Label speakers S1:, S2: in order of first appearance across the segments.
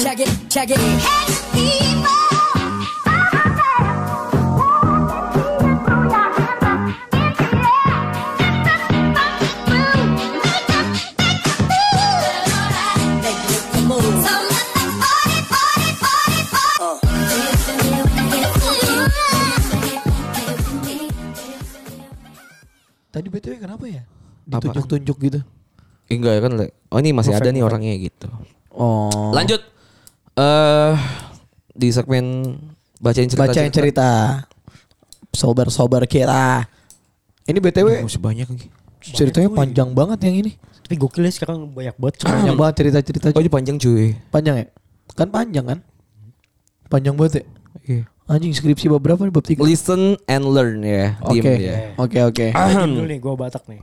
S1: Check it. Make it the move.
S2: Tadi BTW kenapa ya?
S3: Apa?
S2: Ditunjuk-tunjuk gitu.
S3: Eh, kan? enggak ya kan Le? oh ini masih
S2: Perfect,
S3: ada nih
S2: perfect.
S3: orangnya gitu
S2: Oh.
S3: lanjut eh di segmen bacain cerita
S2: Bacain cerita. Sobar-sobar kita. Ini BTW
S3: Oh, masih banyak lagi
S2: ceritanya panjang banget yang ini.
S4: Tapi gokilnya sekarang banyak banget.
S2: Panjang banget cerita-cerita.
S3: oh ini panjang cuy
S2: Panjang ya? Kan panjang kan? Panjang banget ya?
S3: Iya.
S2: Anjing skripsi bab berapa nih? Bab 3? Oke.
S3: listen and learn ya tim ya
S2: Oke oke.
S4: Ahem. Dulu nih, gue Batak nih.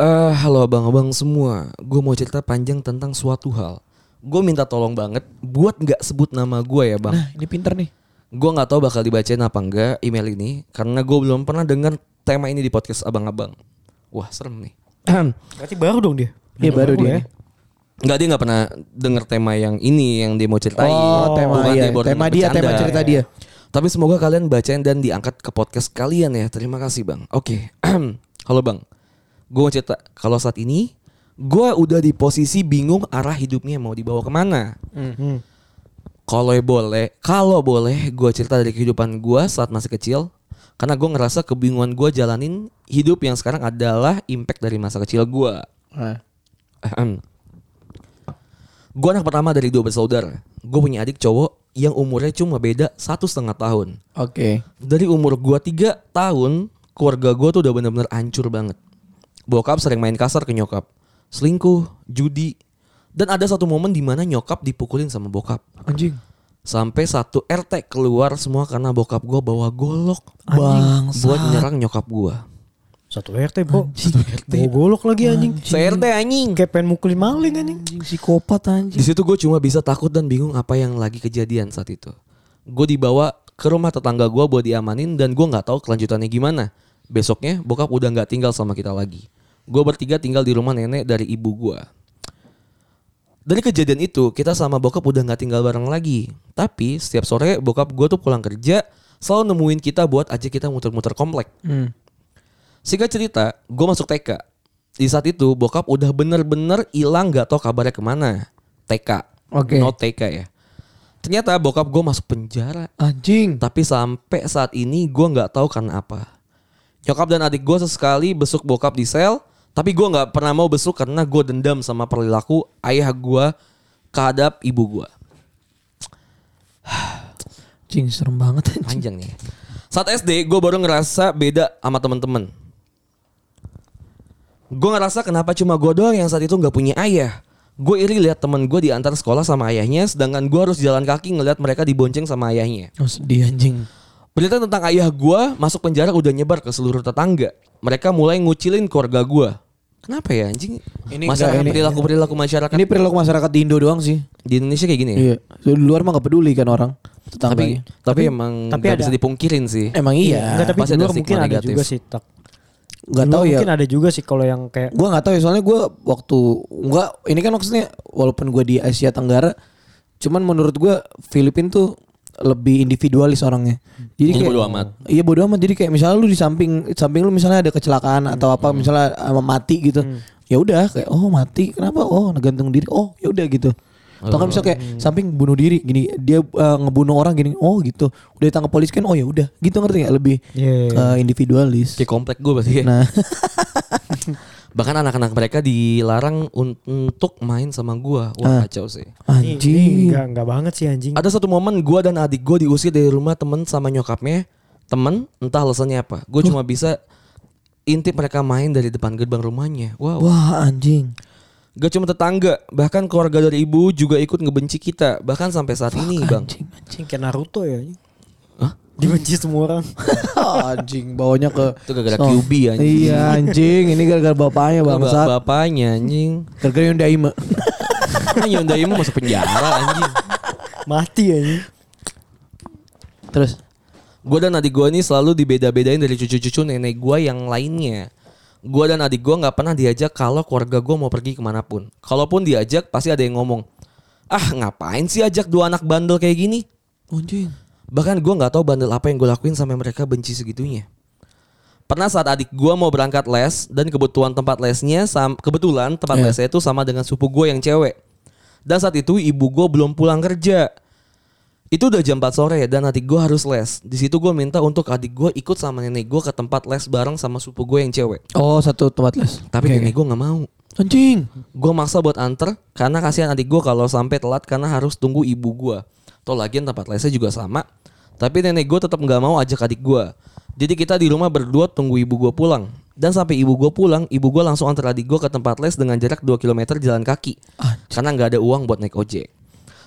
S3: Eh, halo abang-abang semua, gue mau cerita panjang tentang suatu hal. Gue minta tolong banget buat nggak sebut nama gue ya bang.
S2: Nah ini pinter nih.
S3: Gue nggak tahu bakal dibacain apa enggak email ini karena gue belum pernah dengar tema ini di podcast abang-abang. Wah serem nih.
S4: Berarti baru dong dia.
S2: Iya baru dia.
S4: ya.
S3: Nggak dia nggak pernah dengar tema yang ini yang dia mau ceritain.
S2: Oh, tema,
S3: Bukan
S2: iya.
S3: baru
S2: Tema
S3: denger
S2: dia,
S3: bercanda.
S2: tema cerita dia.
S3: Tapi semoga kalian bacain dan diangkat ke podcast kalian ya. Terima kasih bang. Oke. Halo bang. Gue mau cerita kalau saat ini gue udah di posisi bingung arah hidupnya mau dibawa kemana.
S4: Hmm.
S3: Kalau boleh, kalau boleh gue cerita dari kehidupan gue saat masih kecil. Karena gue ngerasa kebingungan gue jalanin hidup yang sekarang adalah impact dari masa kecil gue.
S2: Nah,
S3: Gue anak pertama dari dua bersaudara. Gue punya adik cowok yang umurnya cuma beda satu setengah tahun.
S2: Oke.
S3: Dari umur gue tiga tahun, keluarga gue tuh udah bener-bener hancur banget. Bokap sering main kasar ke nyokap. Selingkuh, judi. Dan ada satu momen dimana nyokap dipukulin sama bokap.
S2: Anjing.
S3: Sampai satu RT keluar semua karena bokap gue bawa golok.
S2: Bangsat.
S3: Buat nyerang nyokap gue.
S4: Satu RT, Bro. Satu RT. golok lagi anjing.
S3: CRT anjing.
S4: Kayak pengen mukulin maling anjing.
S2: Anjing psikopat
S3: Di
S2: anjing.
S3: situ gue cuma bisa takut dan bingung apa yang lagi kejadian saat itu. Gue dibawa ke rumah tetangga gue buat diamanin dan gue nggak tahu kelanjutannya gimana. Besoknya bokap udah nggak tinggal sama kita lagi. Gue bertiga tinggal di rumah nenek dari ibu gue. Dari kejadian itu kita sama bokap udah nggak tinggal bareng lagi. Tapi setiap sore bokap gue tuh pulang kerja selalu nemuin kita buat aja kita muter-muter komplek.
S2: Hmm.
S3: Singkat cerita, gue masuk TK. Di saat itu bokap udah bener-bener hilang gak tau kabarnya kemana. TK.
S2: Oke.
S3: Not TK ya. Ternyata bokap gue masuk penjara.
S2: Anjing.
S3: Tapi sampai saat ini gue nggak tahu karena apa. Nyokap dan adik gue sesekali besuk bokap di sel. Tapi gue nggak pernah mau besuk karena gue dendam sama perilaku ayah gue kehadap ibu gue.
S2: Anjing serem banget anjing.
S3: Panjang nih. Saat SD gue baru ngerasa beda sama temen-temen. Gue ngerasa kenapa cuma gue doang yang saat itu nggak punya ayah. Gue iri lihat temen gue diantar sekolah sama ayahnya, sedangkan gue harus jalan kaki ngelihat mereka dibonceng sama ayahnya.
S2: Oh, sedih anjing.
S3: Berita tentang ayah gue masuk penjara udah nyebar ke seluruh tetangga. Mereka mulai ngucilin keluarga gue. Kenapa ya anjing?
S2: Ini
S3: masyarakat
S2: enggak, ini-
S3: perilaku perilaku masyarakat
S2: Ini perilaku masyarakat di Indo doang sih.
S3: di Indonesia kayak gini. Ya?
S2: Iya. So, di luar mah gak peduli kan orang. ya.
S3: Tapi,
S2: Tetangganya.
S3: tapi emang
S4: tapi
S3: nggak
S4: ada-
S3: bisa dipungkirin sih.
S2: emang iya.
S4: Enggak, tapi
S3: Pasti
S4: di
S3: ada
S4: luar
S3: stigma
S4: mungkin ada
S3: negatif.
S4: juga sih. Tak.
S2: Gak
S4: Di luar
S2: tahu ya.
S4: Mungkin ada juga sih kalau yang kayak
S2: Gue nggak tahu ya soalnya gue waktu nggak ini kan maksudnya walaupun gue di Asia Tenggara, cuman menurut gue Filipin tuh lebih individualis orangnya. Jadi
S3: Jadi
S2: kayak,
S3: bodo amat.
S2: Iya bodo amat. Jadi kayak misalnya lu di samping samping lu misalnya ada kecelakaan atau apa
S4: Hmm.
S2: misalnya ama mati gitu. Ya udah kayak oh mati kenapa? Oh gantung diri. Oh ya udah gitu. Atau kan misalnya kayak
S4: Hmm.
S2: samping bunuh diri gini dia eh, ngebunuh orang gini. Oh gitu. Udah ditangkap polisi kan oh ya udah. Gitu ngerti nggak lebih
S4: Iya, iya,
S2: ke individualis.
S3: Kayak komplek gue berarti ya.
S2: Nah,
S3: Bahkan anak-anak mereka dilarang un- untuk main sama gua.
S2: Ah.
S3: Wah, kacau sih.
S4: Ih, ini
S2: anjing.
S4: Enggak, enggak banget sih anjing.
S3: Ada satu momen gua dan adik gua diusir dari rumah temen sama nyokapnya. Temen, entah alasannya apa. Gue cuma bisa intip mereka main dari depan gerbang rumahnya. Wow.
S2: Wah, anjing.
S3: Gak cuma tetangga, bahkan keluarga dari ibu juga ikut ngebenci kita. Bahkan sampai saat ini, Bang.
S2: Anjing, anjing.
S4: Anjing kayak Naruto ya anjing. Dibenci semua orang.
S2: anjing bawanya ke
S3: Itu gara-gara QB, anjing.
S2: Iya anjing, ini gara-gara bapaknya bangsat.
S3: Bap- Bapaknya anjing.
S2: Gara-gara yang daima.
S3: Ah, Hyundai mau masuk penjara anjing.
S4: Mati anjing.
S2: Terus
S3: Gue dan adik gue ini selalu dibeda-bedain dari cucu-cucu nenek gue yang lainnya. Gue dan adik gue nggak pernah diajak kalau keluarga gue mau pergi kemanapun. Kalaupun diajak pasti ada yang ngomong. ah ngapain sih ajak dua anak bandel kayak gini?
S2: Anjing.
S3: Bahkan gue nggak tahu bandel apa yang gue lakuin sampai mereka benci segitunya. Pernah saat adik gue mau berangkat les dan kebutuhan tempat lesnya sam- kebetulan tempat
S2: Iya.
S3: lesnya itu sama dengan sepupu gue yang cewek. Dan saat itu ibu gue belum pulang kerja. Itu udah jam 4 sore dan adik gue harus les. Di situ gue minta untuk adik gue ikut sama nenek gue ke tempat les bareng sama sepupu gue yang cewek.
S2: Oh satu tempat les.
S3: Tapi
S2: Oke,
S3: nenek gue nggak mau.
S2: oke. Anjing.
S3: Gue maksa buat anter karena kasihan adik gue kalau sampai telat karena harus tunggu ibu gue. Atau lagian tempat lesnya juga sama. Tapi nenek gue tetap nggak mau ajak adik gue. Jadi kita di rumah berdua tunggu ibu gue pulang. Dan sampai ibu gue pulang, ibu gue langsung antar adik gue ke tempat les dengan jarak 2 km jalan kaki. Karena nggak ada uang buat naik ojek.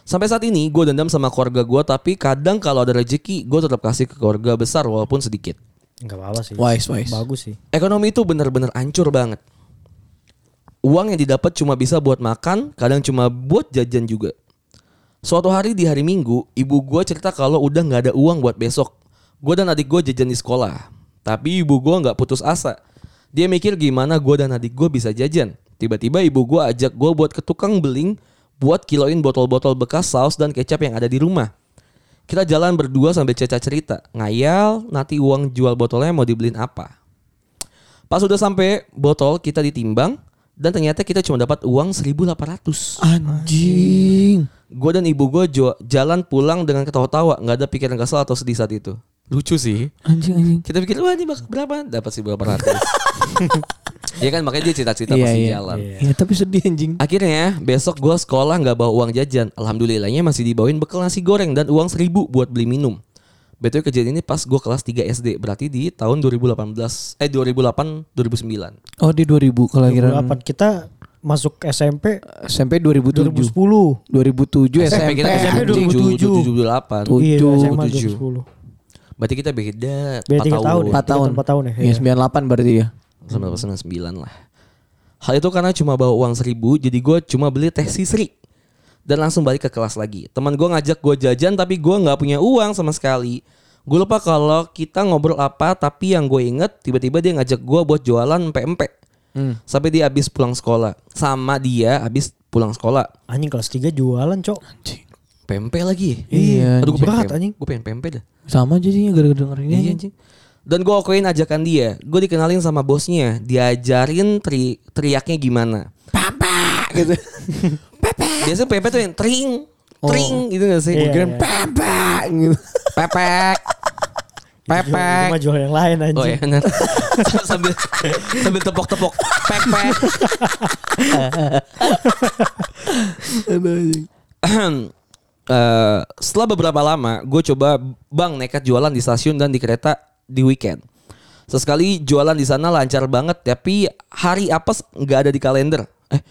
S3: Sampai saat ini gue dendam sama keluarga gue tapi kadang kalau ada rezeki gue tetap kasih ke keluarga besar walaupun sedikit.
S4: Enggak apa-apa sih.
S2: Wise wise.
S4: Bagus sih.
S3: Ekonomi itu benar-benar hancur banget. Uang yang didapat cuma bisa buat makan, kadang cuma buat jajan juga. Suatu hari di hari Minggu, ibu gua cerita kalau udah nggak ada uang buat besok. Gua dan adik gua jajan di sekolah. Tapi ibu gua nggak putus asa. Dia mikir gimana gua dan adik gua bisa jajan. Tiba-tiba ibu gua ajak gua buat ke tukang beling buat kiloin botol-botol bekas saus dan kecap yang ada di rumah. Kita jalan berdua sambil ceca cerita. Ngayal, nanti uang jual botolnya mau dibeliin apa. Pas sudah sampai botol kita ditimbang dan ternyata kita cuma dapat uang 1.800.
S2: Anjing.
S3: Gue dan ibu gue jalan pulang dengan ketawa-tawa, nggak ada pikiran kesel atau sedih saat itu. Lucu sih.
S2: Anjing anjing.
S3: Kita pikir wah ini bakal berapa? Dapat 1.800. Iya kan makanya dia cita-cita
S2: Iya,
S3: pasti
S2: iya,
S3: jalan.
S2: Ya tapi sedih anjing.
S3: Akhirnya besok gue sekolah nggak bawa uang jajan. Alhamdulillahnya masih dibawain bekal nasi goreng dan uang 1.000 buat beli minum. Betul kejadian ini pas gue kelas 3 SD, berarti di tahun 2018 eh 2008 2009.
S2: Oh di 2000 kelahiran
S4: 2008 kita masuk SMP
S2: SMP 2007. 2007
S4: 2010.
S2: SMP.
S3: SMP kita SMP
S4: 2007.
S3: 2007
S4: Iya,
S2: 7,
S4: SMA
S3: 7.
S4: 2010. Berarti
S3: Berarti kita beda 4
S4: Beda tiga
S3: tahun.
S4: tahun.
S2: 4 tahun.
S4: Empat tahun ya,
S2: Iya, 98 berarti ya.
S3: Sama 99 lah. Hal itu karena cuma bawa uang 1000 jadi gue cuma beli teh sisri. Dan langsung balik ke kelas lagi. Teman gue ngajak gue jajan tapi gue nggak punya uang sama sekali. Gue lupa kalau kita ngobrol apa tapi yang gue inget tiba-tiba dia ngajak gue buat jualan pempek. Sampai dia habis pulang sekolah. Sama dia habis pulang sekolah.
S4: Anjing kelas 3 jualan, Cok.
S3: Pempek lagi.
S2: Iya,
S3: Aduh, gue
S4: berat, anjing.
S3: pengen, gue pengen pempek dah.
S2: Sama jadinya gara-gara dengerin ini.
S3: Iya anjing. Dan gue akuin ajakan dia. Gue dikenalin sama bosnya. Diajarin tri teriaknya gimana. Papa gitu. Papa. Biasanya Pepe tuh yang tring. Tring gitu gak sih?
S4: Iya,
S3: Gue kira
S4: iya.
S3: Papa gitu. Pepek. Pepek.
S4: Cuma jual yang lain
S3: Oh
S4: anjing.
S3: iya benar. sambil sambil tepok-tepok. Pepek.
S2: Aduh, anjing.
S3: Eh, setelah beberapa lama, gue coba bang nekat jualan di stasiun dan di kereta di weekend. Sesekali jualan di sana lancar banget, tapi hari apa s- nggak ada di kalender. Eh,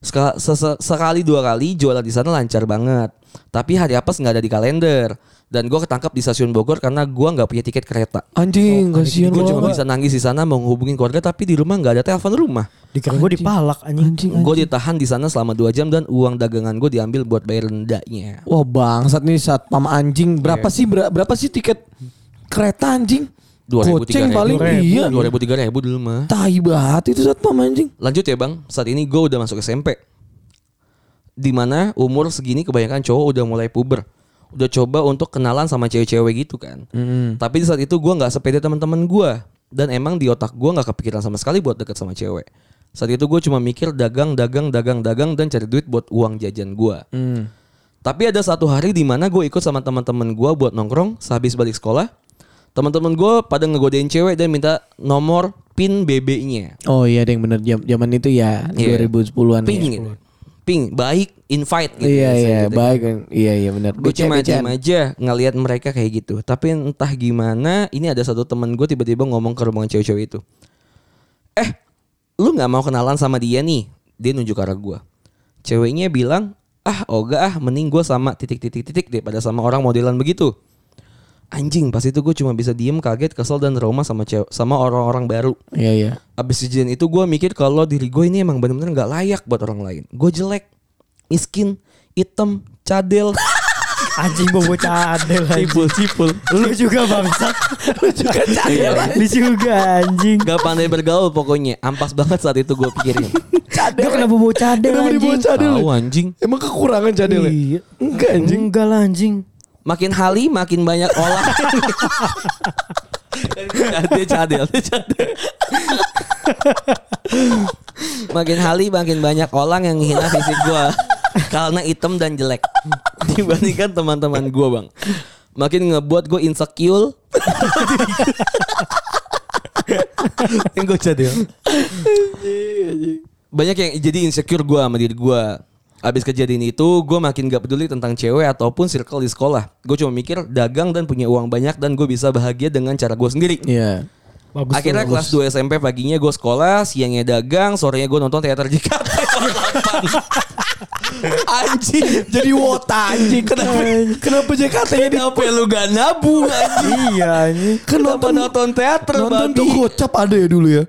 S3: Seka- sese- sekali dua kali jualan di sana lancar banget. Tapi hari apa nggak ada di kalender. Dan gue ketangkap di stasiun Bogor karena gue nggak punya tiket kereta.
S2: Anjing, kasihan
S3: Gue cuma
S2: banget.
S3: bisa nangis di sana mau menghubungin keluarga tapi di rumah nggak ada telepon rumah.
S4: Dikira gue dipalak
S2: Anjing.
S4: anjing.
S3: Gue ditahan di sana selama dua jam dan uang dagangan gue diambil buat bayar dendanya.
S2: Wah bangsat nih satpam anjing. Berapa
S3: Iya.
S2: sih ber- berapa sih tiket kereta anjing?
S3: dua ribu tiga
S2: Goceng paling iya.
S3: dua ribu tiga ribu dulu mah
S2: Tai banget itu satpam anjing.
S3: lanjut ya bang saat ini gue udah masuk SMP dimana umur segini kebanyakan cowok udah mulai puber udah coba untuk kenalan sama cewek-cewek gitu kan tapi di saat itu gue nggak sepede teman-teman gue dan emang di otak gue nggak kepikiran sama sekali buat deket sama cewek saat itu gue cuma mikir dagang dagang dagang dagang dan cari duit buat uang jajan gue tapi ada satu hari di mana gue ikut sama teman-teman gue buat nongkrong sehabis balik sekolah. Teman-teman gue pada ngegodain cewek dan minta nomor pin BB-nya.
S2: Oh iya deh yang bener jam zaman itu ya
S3: Iya.
S2: 2010-an.
S3: Ping,
S2: ya.
S3: gitu. ping, baik, invite gitu.
S2: Iya iya
S3: biasanya gitu.
S2: baik iya iya bener.
S3: Gue
S2: Becek,
S3: cuma
S2: becek.
S3: diem aja ngelihat mereka kayak gitu. Tapi entah gimana, ini ada satu teman gue tiba-tiba ngomong ke ruangan cewek-cewek itu. Eh, lu nggak mau kenalan sama dia nih? Dia nunjuk ke arah gue. Ceweknya bilang, ah oga ah mending gue sama titik-titik-titik daripada sama orang modelan begitu. Anjing, pas itu gue cuma bisa diem kaget kesel dan trauma sama cewek sama orang-orang baru.
S2: Iya iya.
S3: Abis kejadian itu gue mikir kalau diri gue ini emang bener-bener gak layak buat orang lain. Gue jelek, miskin, hitam, cadel,
S4: Anjing bawa bocah adel anjing.
S3: Cipul, cipul.
S4: Lu juga bangsat.
S2: Lu juga cadel.
S4: Lu juga anjing.
S3: Gak pandai bergaul pokoknya. Ampas banget saat itu gue pikirin.
S4: Lu kenapa bawa cadel
S2: Kenapa dibawa
S4: anjing?
S2: cadel?
S3: Tahu anjing.
S2: Emang kekurangan cadel?
S4: Iya.
S2: Enggak anjing.
S4: Enggak lah anjing.
S3: Makin hari makin banyak olah. dia cadel, dia cadel. makin hari makin banyak orang yang hina fisik gue karena hitam dan jelek dibandingkan teman-teman gue bang. Makin ngebuat gue insecure. yang gue cadel. Banyak yang jadi insecure gue sama diri gue. Abis kejadian itu gue makin gak peduli tentang cewek ataupun circle di sekolah. Gue cuma mikir dagang dan punya uang banyak dan gue bisa bahagia dengan cara gue sendiri.
S2: Iya.
S4: Bagus.
S3: Akhirnya kelas 2 SMP paginya gue sekolah, siangnya dagang, sorenya gue nonton teater JKT. anjing,
S2: Jadi wota anjing. Kenapa? kenapa JKT-nya di
S3: kenapa lu gak nabung anjing?
S4: Iya anjing.
S3: Kenapa nonton Oh, teater
S2: kan nonton
S3: babi?
S2: tuh gocap ada ya dulu ya?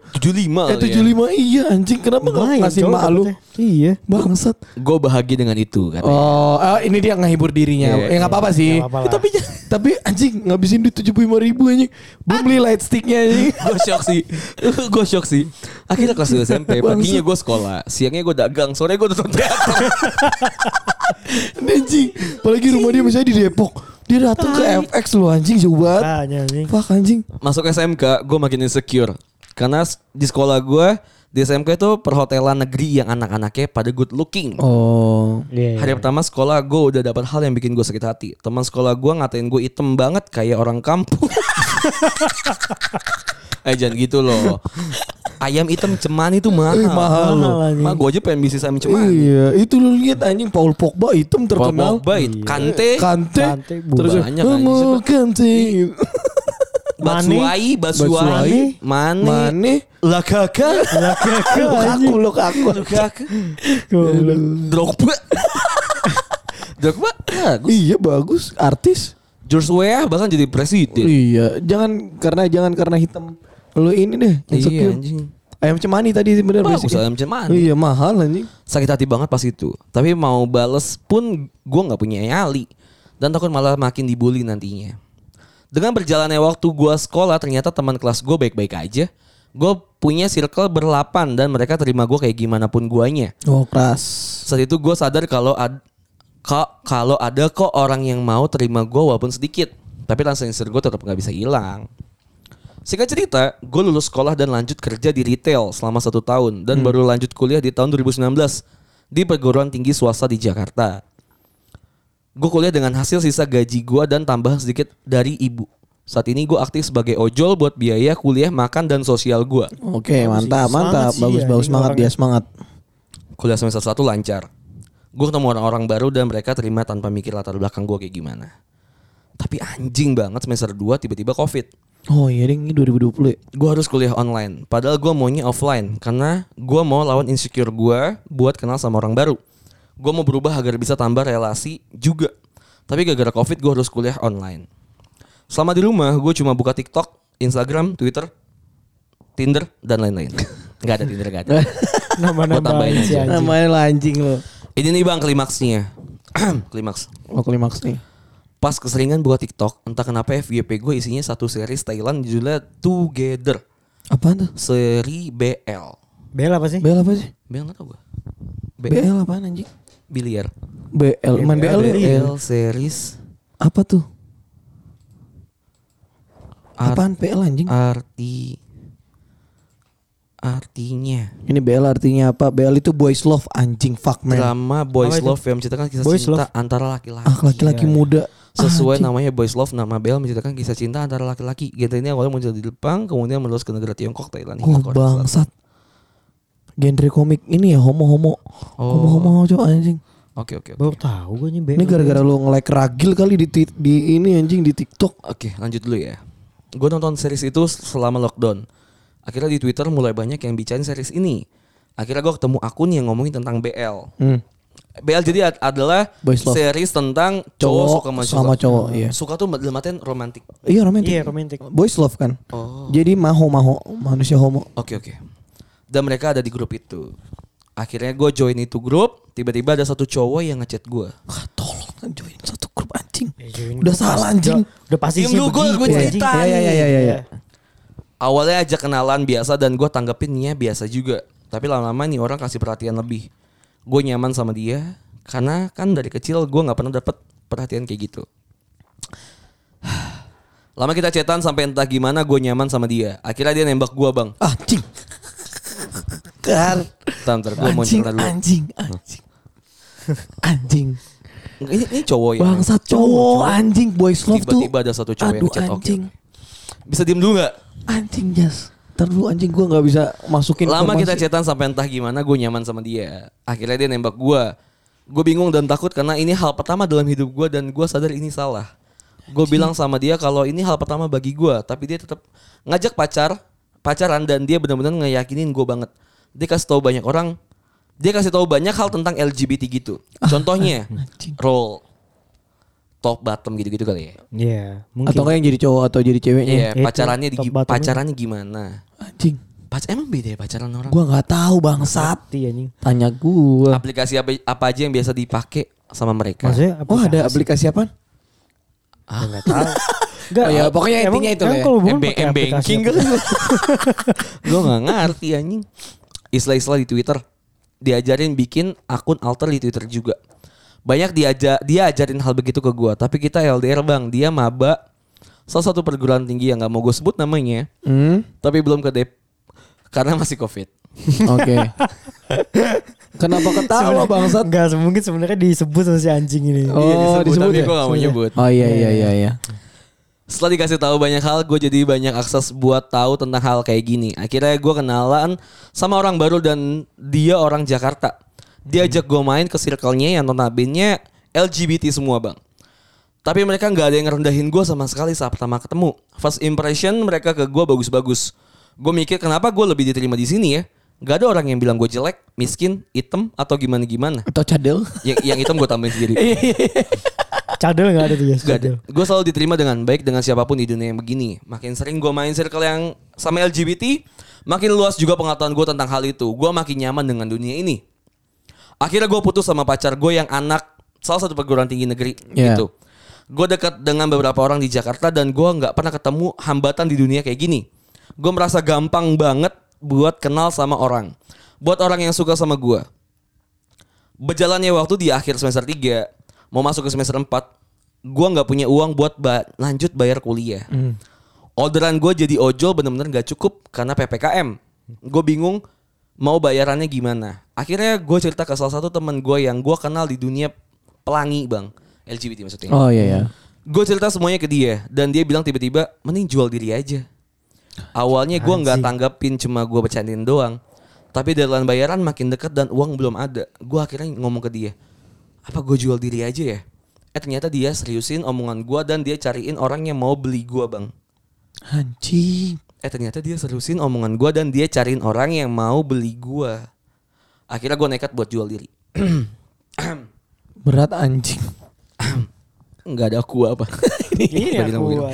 S2: Eh
S3: 75
S2: 75 iya anjing kenapa nggak
S4: Lumayan,
S2: ngasih
S4: cowok
S2: mak lu?
S4: dapetnya. Iya.
S2: Bangsat.
S3: Gue bahagia dengan itu katanya.
S2: Oh, eh, ini dia ngehibur dirinya.
S3: Iya,
S2: ya nggak apa-apa sih.
S4: nggak apa-apa lah.
S2: Eh, tapi tapi anjing ngabisin duit 75 ribu anjing. Belum beli light sticknya anjing.
S3: gue shock sih gue shock sih akhirnya kelas 2 SMP paginya gue sekolah siangnya gue dagang sore gue nonton teater
S2: Ini anjing. Apalagi rumah dia misalnya di Depok. Dia datang ke FX lu anjing jauh banget.
S4: Tanya anjing.
S2: Fuck anjing.
S3: masuk SMK gue makin insecure karena s- di sekolah gue di SMK itu perhotelan negeri yang anak-anaknya pada good looking
S2: Oh.
S4: Iya.
S3: Hari pertama sekolah gue udah dapat hal yang bikin gue sakit hati. Teman sekolah gue ngatain gue item banget kayak orang kampung. eh jangan gitu loh. Ayam item cemani itu mahal.
S2: Eh, mahal loh.
S4: Mahal anjing.
S3: Mah gue aja pengen bisnis ayam cemani.
S2: Iya, itu lu lihat anjing Paul Pogba hitam terkenal. Iya.
S3: Pogba, eh. Kante,
S2: Kante.
S4: Kante, Bu.
S2: Terus
S3: Banyak,
S2: "Oh,
S3: anjing.
S2: mau Kante.
S3: Batsuai, Batsuai,
S2: Batsuai,
S3: Mane,
S2: Mane.
S3: Lakaka,
S4: Lah, kakak, anjing.
S2: Aku lu aku.
S3: Lakaka,
S4: Goblok.
S3: Drogba. Drogba, bagus.
S2: Iya bagus, artis.
S3: George Weah bahkan jadi presiden.
S2: Iya, jangan karena jangan karena hitam. Lu ini deh,
S3: Iya
S2: insecure.
S3: anjing.
S2: Ayam cemani tadi bener
S3: Bagus
S2: basicnya.
S3: ayam cemani.
S2: Iya mahal anjing.
S3: sakit hati banget pas itu. Tapi mau bales pun gue nggak punya nyali dan takut malah makin dibully nantinya. Dengan berjalannya waktu gue sekolah ternyata teman kelas gue baik-baik aja. Gue punya circle berlapan dan mereka terima gue kayak gimana pun guanya.
S2: Oh keras.
S3: Saat itu gue sadar kalau ad ka- kalau ada kok orang yang mau terima gue walaupun sedikit. Tapi rasa insecure gue tetap nggak bisa hilang. Singkat cerita, gue lulus sekolah dan lanjut kerja di retail selama satu tahun dan baru lanjut kuliah di tahun 2019 di perguruan tinggi swasta di Jakarta. Gue kuliah dengan hasil sisa gaji gue dan tambahan sedikit dari ibu. Saat ini gue aktif sebagai ojol buat biaya kuliah, makan, dan sosial gue.
S2: Oke mantap
S4: Semangat
S2: mantap
S4: sih,
S2: bagus bagus
S4: anjing
S2: semangat
S4: orangnya.
S2: dia semangat.
S3: kuliah semester 1 lancar. Gue ketemu orang-orang baru dan mereka terima tanpa mikir latar belakang gue kayak gimana. Tapi anjing banget semester 2 tiba-tiba covid.
S2: Oh iya ding, ini 2020 ya.
S3: Gue harus kuliah online. Padahal gue maunya offline. Karena gue mau lawan insecure gue buat kenal sama orang baru. Gue mau berubah agar bisa tambah relasi juga. Tapi gara-gara covid gue harus kuliah online. Selama di rumah gue cuma buka TikTok, Instagram, Twitter, Tinder, dan lain-lain. gak ada Tinder, gak ada. Gua
S4: Nama-nama
S3: tambahin
S4: anjing.
S3: aja.
S4: anjing.
S2: Namanya lah anjing lo.
S3: Ini nih bang klimaksnya. Klimaks.
S2: Lo klimaks nih.
S3: Pas keseringan buat TikTok, entah kenapa FYP gue isinya satu series Thailand judulnya Together,
S2: Apaan tuh?
S3: seri BL.
S4: Bel apa sih?
S2: BL apa sih?
S3: BL nggak tahu gue. BL
S2: BL apaan anjing?
S3: biliar.
S2: BL main BL, lu ya?
S3: BL series
S2: apa tuh?
S3: Art-
S2: Apaan BL anjing?
S3: arti artinya
S2: Ini BL artinya apa? BL itu boys love anjing fuck man.
S3: drama boys
S4: Apa itu?
S3: love yang menceritakan kisah
S4: Boys
S3: cinta
S4: love?
S3: antara laki-laki. Iya.
S2: Ah laki-laki muda. Ah,
S3: Sesuai namanya Boys Love, nama BL menceritakan kisah cinta antara laki-laki. Genre ini awalnya muncul di Jepang, kemudian meluas ke negara Tiongkok, Thailand,
S2: Oh
S3: hingga Korea Selatan.
S2: bangsat. Genre komik ini ya homo-homo.
S3: Oh.
S2: Homo-homo cowok anjing.
S3: Oke, oke. oke.
S4: Baru tahu gue nih Bel.
S3: Iya,
S2: Ini gara-gara lu nge-like ragil kali di, ti- di ini anjing di TikTok.
S3: Oke, lanjut dulu ya. Gue nonton series itu selama lockdown. Akhirnya di Twitter mulai banyak yang bicarain series ini. Akhirnya gue ketemu akun yang ngomongin tentang BL. BL jadi ad- adalah
S2: Hmm. Boys love.
S3: series tentang cowok,
S2: Cowok
S3: suka sama cowok.
S2: sama cowok, iya.
S3: Suka tuh dalam artian romantis.
S2: Iya romantis.
S4: Iya, romantic.
S2: Boys love kan.
S3: Oh.
S2: Jadi maho-maho manusia homo.
S3: Oke oke. Dan mereka ada di grup itu. Akhirnya gue join itu grup. Tiba-tiba ada satu cowok yang ngechat gue.
S2: Wah, tolong kan Ah, join satu grup anjing.
S3: Eh,
S2: Udah salah anjing.
S4: Udah pasti
S3: Diem
S4: sih
S3: dulu, gua-
S4: begitu
S3: gua
S4: anjing.
S3: cerita
S2: Iya, iya, iya, iya, iya, iya.
S3: Awalnya aja kenalan biasa dan gue tanggepinnya biasa juga. Tapi lama-lama nih orang kasih perhatian lebih. Gue nyaman sama dia karena kan dari kecil gue nggak pernah dapet perhatian kayak gitu. Lama kita cetan sampai entah gimana gue nyaman sama dia. Akhirnya dia nembak gue bang.
S2: Anjing. Kan.
S3: Tantar gue mau
S2: Anjing,
S3: cerita dulu.
S2: anjing, anjing. Anjing.
S3: Ini, ini cowok ya.
S2: Bangsat cowok anjing boys love tuh.
S3: Tiba-tiba ada satu cowok yang
S2: Aduh
S3: ngechat, oke,
S2: anjing.
S3: Bisa diem dulu nggak?
S2: Anjing jas. Ntar dulu anjing gua nggak bisa masukin
S3: Lama kita
S2: informasi.
S3: cetan sampai entah gimana gue nyaman sama dia. Akhirnya dia nembak gue. Gue bingung dan takut karena ini hal pertama dalam hidup gue dan gue sadar ini salah. Gue bilang sama dia kalau ini hal pertama bagi gue, tapi dia tetap ngajak pacar, pacaran dan dia benar-benar ngeyakinin gue banget. Dia kasih tahu banyak orang, dia kasih tahu banyak hal tentang LGBT gitu. Contohnya
S2: anjing.
S3: role top bottom gitu-gitu kali ya.
S4: Iya, mungkin.
S2: Atau kayak yang jadi cowok atau jadi ceweknya.
S3: Iya,
S4: Itu,
S3: pacarannya di,
S4: top bottomnya.
S3: pacarannya gimana?
S2: Anjing.
S3: Pac emang beda ya pacaran orang?
S2: Gua nggak tahu bangsat.
S4: Mati Iya, anjing.
S2: Tanya gua.
S3: aplikasi apa, apa aja yang biasa dipakai sama mereka. Ah,
S4: Maksudnya
S2: Wah Oh, ada aplikasi apa?
S4: Enggak tahu. Enggak.
S2: Oh ya, pokoknya intinya itu lah ya.
S3: MB- M-banking kan? Gue gak ngerti anjing. Istilah-istilah di Twitter. Diajarin bikin akun alter di Twitter juga. Banyak diaja dia ajarin hal begitu ke gua, tapi kita LDR Bang. Dia maba salah satu perguruan tinggi yang nggak mau gue sebut namanya,
S2: Hmm.
S3: tapi belum ke Dep karena masih Covid.
S2: Oke. Kenapa ketawa bangsat?
S4: Enggak, mungkin sebenarnya disebut sama si anjing ini.
S2: Oh, disebut
S3: Iya, tapi
S2: ya?
S3: gue gak mau
S4: Disebut ya?
S3: nyebut.
S2: Oh iya iya iya iya.
S3: Setelah dikasih tahu banyak hal, gue jadi banyak akses buat tahu tentang hal kayak gini. Akhirnya gue kenalan sama orang baru dan dia orang Jakarta. Dia ajak gue main ke circle-nya yang notabene LGBT semua bang. Tapi mereka nggak ada yang ngerendahin gue sama sekali saat pertama ketemu. First impression mereka ke gue bagus-bagus. Gue mikir kenapa gue lebih diterima di sini ya? Gak ada orang yang bilang gue jelek, miskin, item atau gimana-gimana.
S2: Atau cadel?
S3: Yang, yang item gue tambahin sendiri.
S4: Cadel enggak ada tuh ya?
S3: Gak ada.
S4: Cadel.
S3: Gue selalu diterima dengan baik dengan siapapun di dunia yang begini. Makin sering gue main circle yang sama LGBT, makin luas juga pengetahuan gue tentang hal itu. Gue makin nyaman dengan dunia ini. Akhirnya gue putus sama pacar gue yang anak salah satu perguruan tinggi negeri
S2: Iya.
S3: gitu. Gue dekat dengan beberapa orang di Jakarta dan gue nggak pernah ketemu hambatan di dunia kayak gini. Gue merasa gampang banget buat kenal sama orang. Buat orang yang suka sama gue. Berjalannya waktu di akhir semester 3 Mau masuk ke semester 4 Gue gak punya uang buat ba- lanjut bayar kuliah Orderan gue jadi ojol bener-bener gak cukup Karena PPKM Gue bingung mau bayarannya gimana Akhirnya gue cerita ke salah satu temen gue Yang gue kenal di dunia pelangi bang LGBT maksudnya
S2: Oh iya iya.
S3: Gue cerita semuanya ke dia dan dia bilang tiba-tiba mending jual diri aja. Awalnya gue nggak tanggapin cuma gue bercandain doang. Tapi deadline bayaran makin dekat dan uang belum ada. Gue akhirnya ngomong ke dia, apa gue jual diri aja ya? Eh ternyata dia seriusin omongan gue dan dia cariin orang yang mau beli gue bang.
S2: Anjing.
S3: Eh ternyata dia seriusin omongan gue dan dia cariin orang yang mau beli gue. Akhirnya gue nekat buat jual diri.
S2: Berat anjing.
S3: Nggak ada aku apa. Iya,
S4: Ini
S3: Gua bilang
S4: aku.
S3: begitu.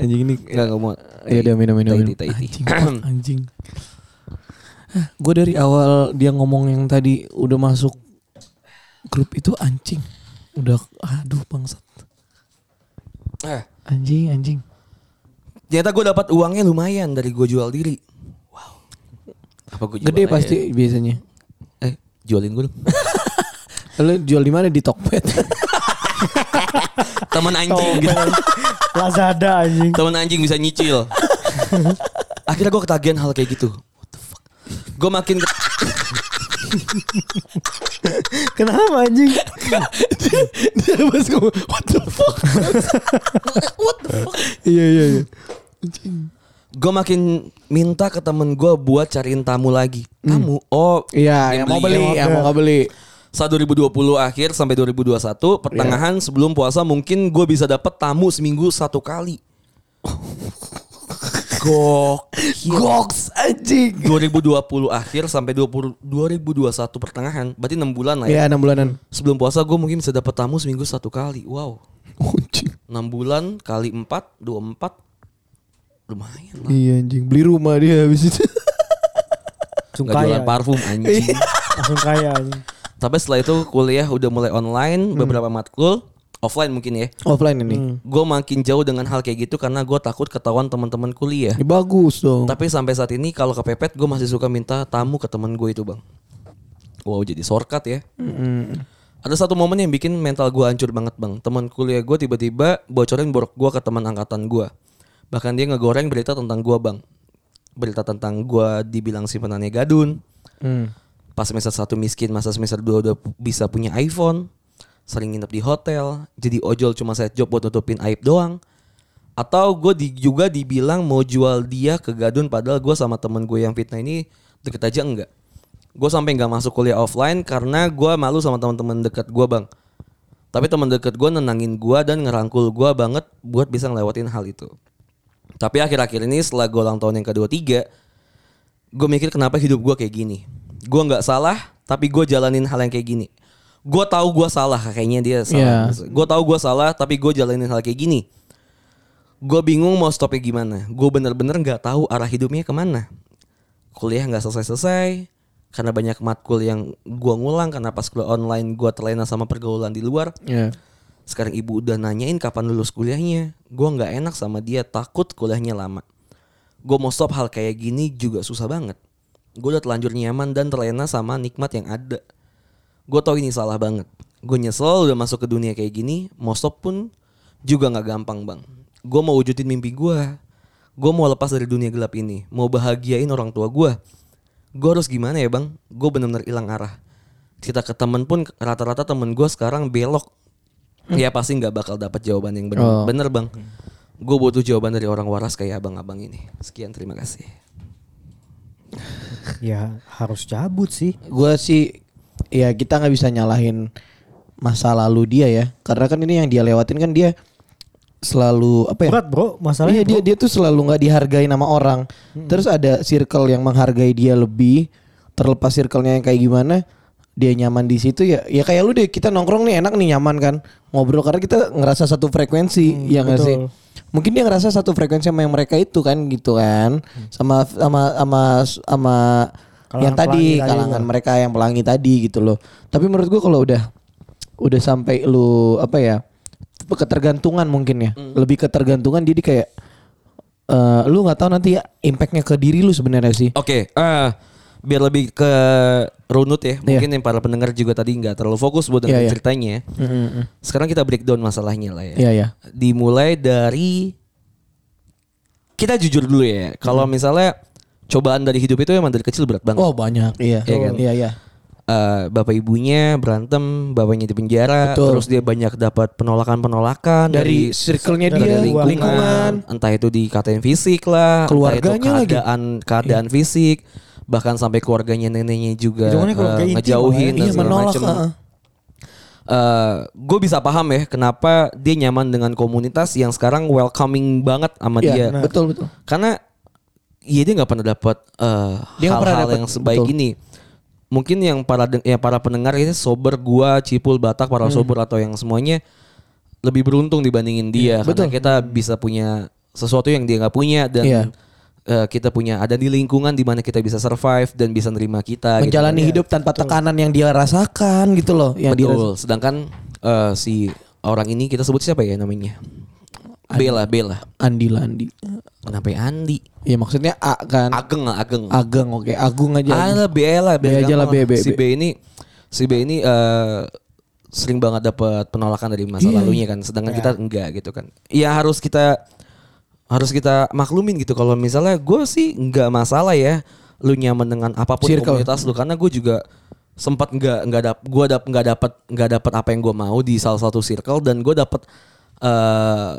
S2: Anjing ini
S3: Nggak nggak mau. Iya,
S2: ya udah minum minum.
S3: Taiti,
S2: minum.
S3: taiti.
S2: Anjing. fuck, anjing. Gue dari awal dia ngomong yang tadi udah masuk grup itu anjing. Udah aduh bangsat.
S3: Ah.
S2: Anjing anjing.
S3: Ternyata gue dapat uangnya lumayan dari gue jual diri. Wow. Apa gue jual
S2: Gede
S3: aja?
S2: pasti biasanya.
S3: Eh, jualin gue dong.
S2: Lu jual di mana di Tokped?
S3: Temen anjing gitu.
S4: Lazada anjing.
S3: Temen anjing bisa nyicil. Akhirnya gue ketagihan hal kayak gitu. What the fuck? Gue makin
S4: Kenapa anjing?
S2: Dia pas ngomong, what the fuck? what the fuck? Iya iya iya.
S3: gue makin minta ke temen gue buat cariin tamu lagi. Tamu? Oh,
S2: Iya,
S3: dia
S2: yang mau beli, yang mau
S4: order.
S2: nggak beli.
S3: Saat 2020 akhir sampai 2021 pertengahan sebelum puasa mungkin gue bisa dapet tamu seminggu satu kali. Gokil.
S2: Goks anjing.
S3: 2020 akhir sampai 20, 2021 pertengahan berarti 6 bulan lah ya.
S2: Iya, 6 bulanan.
S3: Sebelum puasa gue mungkin bisa dapat tamu seminggu satu kali. Wow.
S2: Anjing.
S3: 6 bulan kali 4 24 lumayan lah.
S2: Iya anjing, beli rumah dia habis itu.
S4: Langsung
S3: Nggak
S4: kaya.
S3: jualan parfum anjing.
S4: Langsung kaya anjing.
S3: Tapi setelah itu kuliah udah mulai online beberapa matkul offline mungkin ya.
S2: offline ini.
S3: Gue makin jauh dengan hal kayak gitu karena gue takut ketahuan teman-teman kuliah.
S2: Ya, bagus dong.
S3: Tapi sampai saat ini kalau kepepet gue masih suka minta tamu ke temen gue itu bang. Wow jadi shortcut ya. Ada satu momen yang bikin mental gue hancur banget bang. Teman kuliah gue tiba-tiba bocorin borok gue ke teman angkatan gue. Bahkan dia ngegoreng berita tentang gue bang. Berita tentang gue dibilang simpenannya gadun. Pas semester satu miskin, masa semester 2 udah pu- bisa punya iPhone. Sering nginep di hotel. Jadi ojol cuma saya job buat nutupin aib doang. Atau gue di, juga dibilang mau jual dia ke Gadun padahal gue sama temen gue yang fitnah ini deket aja enggak. Gue sampai nggak masuk kuliah offline karena gue malu sama teman-teman deket gue bang. Tapi teman deket gue nenangin gue dan ngerangkul gue banget buat bisa ngelewatin hal itu. Tapi akhir-akhir ini setelah gue ulang tahun yang kedua tiga, gue mikir kenapa hidup gue kayak gini. Gue nggak salah, tapi gue jalanin hal yang kayak gini. Gue tahu gue salah, kayaknya dia salah. Gue tahu gue salah, tapi gue jalanin hal kayak gini. Gue bingung mau stopnya gimana. Gue bener-bener nggak tahu arah hidupnya kemana. Kuliah nggak selesai-selesai karena banyak matkul yang gue ngulang karena pas kuliah online gue terlena sama pergaulan di luar.
S2: Ya.
S3: Sekarang ibu udah nanyain kapan lulus kuliahnya. Gue nggak enak sama dia, takut kuliahnya lama. Gue mau stop hal kayak gini juga susah banget. Gue udah telanjur nyaman dan terlena sama nikmat yang ada. Gue tau ini salah banget. Gue nyesel udah masuk ke dunia kayak gini. Mau stop pun juga nggak gampang bang. Gue mau wujudin mimpi gue. Gue mau lepas dari dunia gelap ini. Mau bahagiain orang tua gue. Gue harus gimana ya bang? Gue bener-bener hilang arah. Cerita ke temen pun rata-rata temen gue sekarang belok ya pasti nggak bakal dapat jawaban yang
S2: Oh.
S3: benar. Bener bang, gue butuh jawaban dari orang waras kayak abang-abang ini. Sekian terima kasih.
S4: ya harus cabut sih.
S2: Gue sih ya kita nggak bisa nyalahin masa lalu dia ya. Karena kan ini yang dia lewatin kan dia selalu apa ya?
S4: Berat bro,
S2: Iya
S4: masalahnya
S2: dia
S4: bro.
S2: dia tuh selalu nggak dihargai nama orang. Terus ada circle yang menghargai dia lebih. Terlepas circle-nya yang kayak gimana, dia nyaman di situ ya. Ya kayak lu deh kita nongkrong nih enak nih nyaman kan. Ngobrol karena kita ngerasa satu frekuensi
S4: Hmm,
S2: ya nggak sih? Mungkin dia ngerasa satu frekuensi sama yang mereka itu kan gitu kan. Sama sama sama sama
S4: Hmm. Kalangan
S2: yang tadi
S4: pelangi ya. tadi
S2: kalangan mereka yang pelangi tadi gitu loh. Tapi menurut gua kalau udah udah sampai lu apa ya ketergantungan mungkin ya
S3: Hmm.
S2: lebih ketergantungan jadi kayak eh, lu nggak tahu nanti ya impactnya ke diri lu sebenarnya sih
S3: Oke, eh, biar lebih ke runut ya. Mungkin yang para pendengar juga tadi nggak terlalu fokus buat dengerin
S2: Iya, iya.
S3: ceritanya. Sekarang kita breakdown masalahnya lah
S2: Iya
S3: ya.
S2: ya
S3: Dimulai dari kita jujur dulu ya. Kalau misalnya cobaan dari hidup itu emang dari kecil berat banget.
S2: oh banyak iya
S3: Iya kan?
S2: iya iya
S3: eh bapak ibunya berantem, bapaknya di penjara,
S2: Betul.
S3: terus dia banyak dapat penolakan-penolakan
S2: dari circle-nya
S4: dari
S2: dia
S4: lingkungan,
S2: lingkungan
S3: entah itu dikatain fisik lah, entah itu
S2: Keluarganya lagi. Iya.
S3: keadaan keadaan fisik, bahkan sampai keluarganya neneknya juga
S4: Hitungannya keluarga
S3: eh,
S4: inti
S3: ngejauhin
S4: malah
S3: dan
S2: iya
S3: segala
S2: menolak
S3: macem.
S2: heeh.
S3: gue bisa paham ya kenapa dia nyaman dengan komunitas yang sekarang welcoming banget sama
S2: Iya,
S3: dia. Nah,
S2: betul betul
S3: Karena ya dia nggak pernah dapat eh,
S2: Dia nggak pernah
S3: hal-hal
S2: dapat,
S3: yang sebaik
S2: betul.
S3: ini. Mungkin yang para deng- ya para pendengar ini sober gua, cipul batak,
S2: Hmm.
S3: para sober atau yang semuanya lebih beruntung dibandingin
S2: Iya,
S3: dia karena kita bisa punya sesuatu yang dia nggak punya dan
S2: Iya.
S3: eh, kita punya ada di lingkungan di mana kita bisa survive dan bisa nerima kita. gitu.
S2: menjalani hidup tanpa tekanan yang dia rasakan gitu loh yang dia
S3: Betul. Sedangkan eh, si orang ini kita sebut siapa ya namanya? Bella, Bella.
S2: Andi Landi
S3: Kenapa ya Andi?
S2: ya maksudnya A kan
S3: Ageng lah, Ageng.
S2: Ageng oke Agung aja
S3: Ah, B lah, B,
S2: B aja lah,
S3: gampang
S2: B, B,
S3: Si
S2: B.
S3: B ini si B ini eh, sering banget dapat penolakan dari masa
S2: Iya.
S3: lalunya kan, sedangkan kita enggak gitu kan. Ya harus kita harus kita maklumin gitu kalau misalnya gue sih enggak masalah ya lu nyaman dengan apapun
S2: Circle.
S3: komunitas lu karena gue juga sempat enggak enggak dap gue dap enggak dapat enggak dapat apa yang gue mau di salah satu circle dan gue dapat eh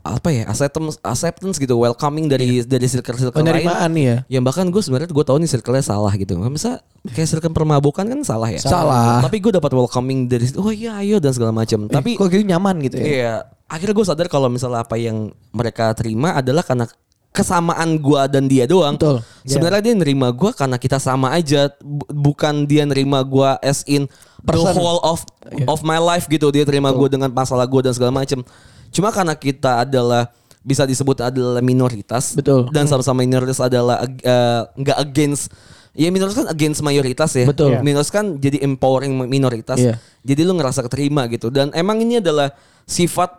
S3: apa ya acceptance acceptance gitu welcoming dari dari circle
S2: Iya.
S3: circle lain
S2: penerimaan ya
S3: yang bahkan gue sebenarnya gue tahu nih circle-nya salah gitu. Masa kayak circle permabukan kan salah ya.
S2: Salah.
S3: Tapi gue dapat welcoming dari situ. Oh iya ayo dan segala macam. Tapi
S2: kok gitu nyaman gitu ya
S3: iya akhirnya gue sadar kalau misalnya apa yang mereka terima adalah karena kesamaan gue dan dia doang.
S2: Betul.
S3: Sebenarnya dia nerima gue karena kita sama aja. Bu- Bukan dia nerima gue as in the
S2: Person. Iya.
S3: whole of of my life gitu. Dia terima gue dengan masalah gue dan segala macam. Cuma karena kita adalah bisa disebut adalah minoritas
S2: Betul.
S3: dan sama-sama minoritas adalah ag- eh, nggak against Ya minoritas kan against mayoritas ya.
S2: Betul.
S4: Iya.
S3: Minoritas kan jadi empowering minoritas.
S2: Iya.
S3: Jadi lu ngerasa keterima gitu. Dan emang ini adalah sifat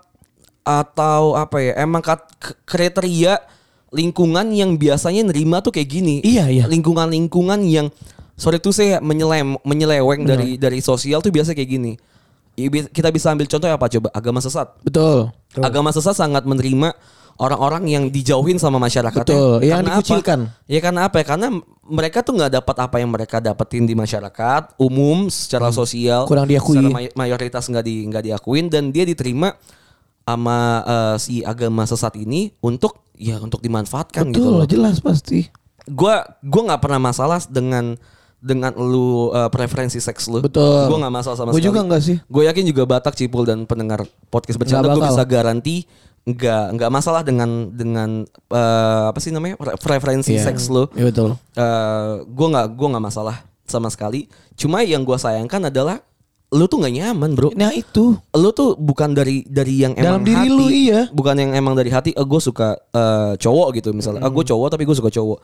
S3: atau apa ya? Emang kat- k- kriteria lingkungan yang biasanya nerima tuh kayak gini.
S2: Iya, iya.
S3: Lingkungan-lingkungan yang sorry tuh saya menyelem menyeleweng dari dari sosial tuh biasa kayak gini. Ibi- Kita bisa ambil contoh apa coba? Agama sesat.
S2: Betul.
S4: Betul.
S3: Agama sesat sangat menerima orang-orang yang dijauhin sama masyarakatnya.
S2: Betul, yang
S3: Karena apa?
S2: dikucilkan.
S3: Ya karena apa ya? Karena mereka tuh nggak dapat apa yang mereka dapetin di masyarakat umum secara sosial.
S2: Hmm. Kurang diakui.
S3: Secara may- mayoritas nggak di nggak diakuin dan dia diterima sama eh, si agama sesat ini untuk ya untuk dimanfaatkan gitu.
S2: Betul,
S3: loh.
S2: jelas pasti.
S3: Gua gua nggak pernah masalah dengan dengan lu eh, preferensi seks lu.
S2: Betul.
S3: Gua nggak masalah sama
S2: Gua
S3: sekali.
S2: juga nggak sih.
S3: Gue yakin juga Batak Cipul dan pendengar podcast bercanda
S2: Nggak
S3: gue
S2: bakal.
S3: bisa garanti nggak nggak masalah dengan dengan eh, apa sih namanya pre- preferensi
S2: Iya.
S3: seks lo.
S2: Iya betul.
S3: Eh, gue nggak gue nggak masalah sama sekali. Cuma yang gue sayangkan adalah lu tuh nggak nyaman bro.
S2: Nah itu.
S3: Lu tuh bukan dari dari yang
S2: Dalam
S3: emang
S2: diri
S3: hati,
S2: lu, iya.
S3: bukan yang emang dari hati. Eh, gue suka eh, cowok gitu misalnya. Eh, gue cowok tapi gue suka cowok.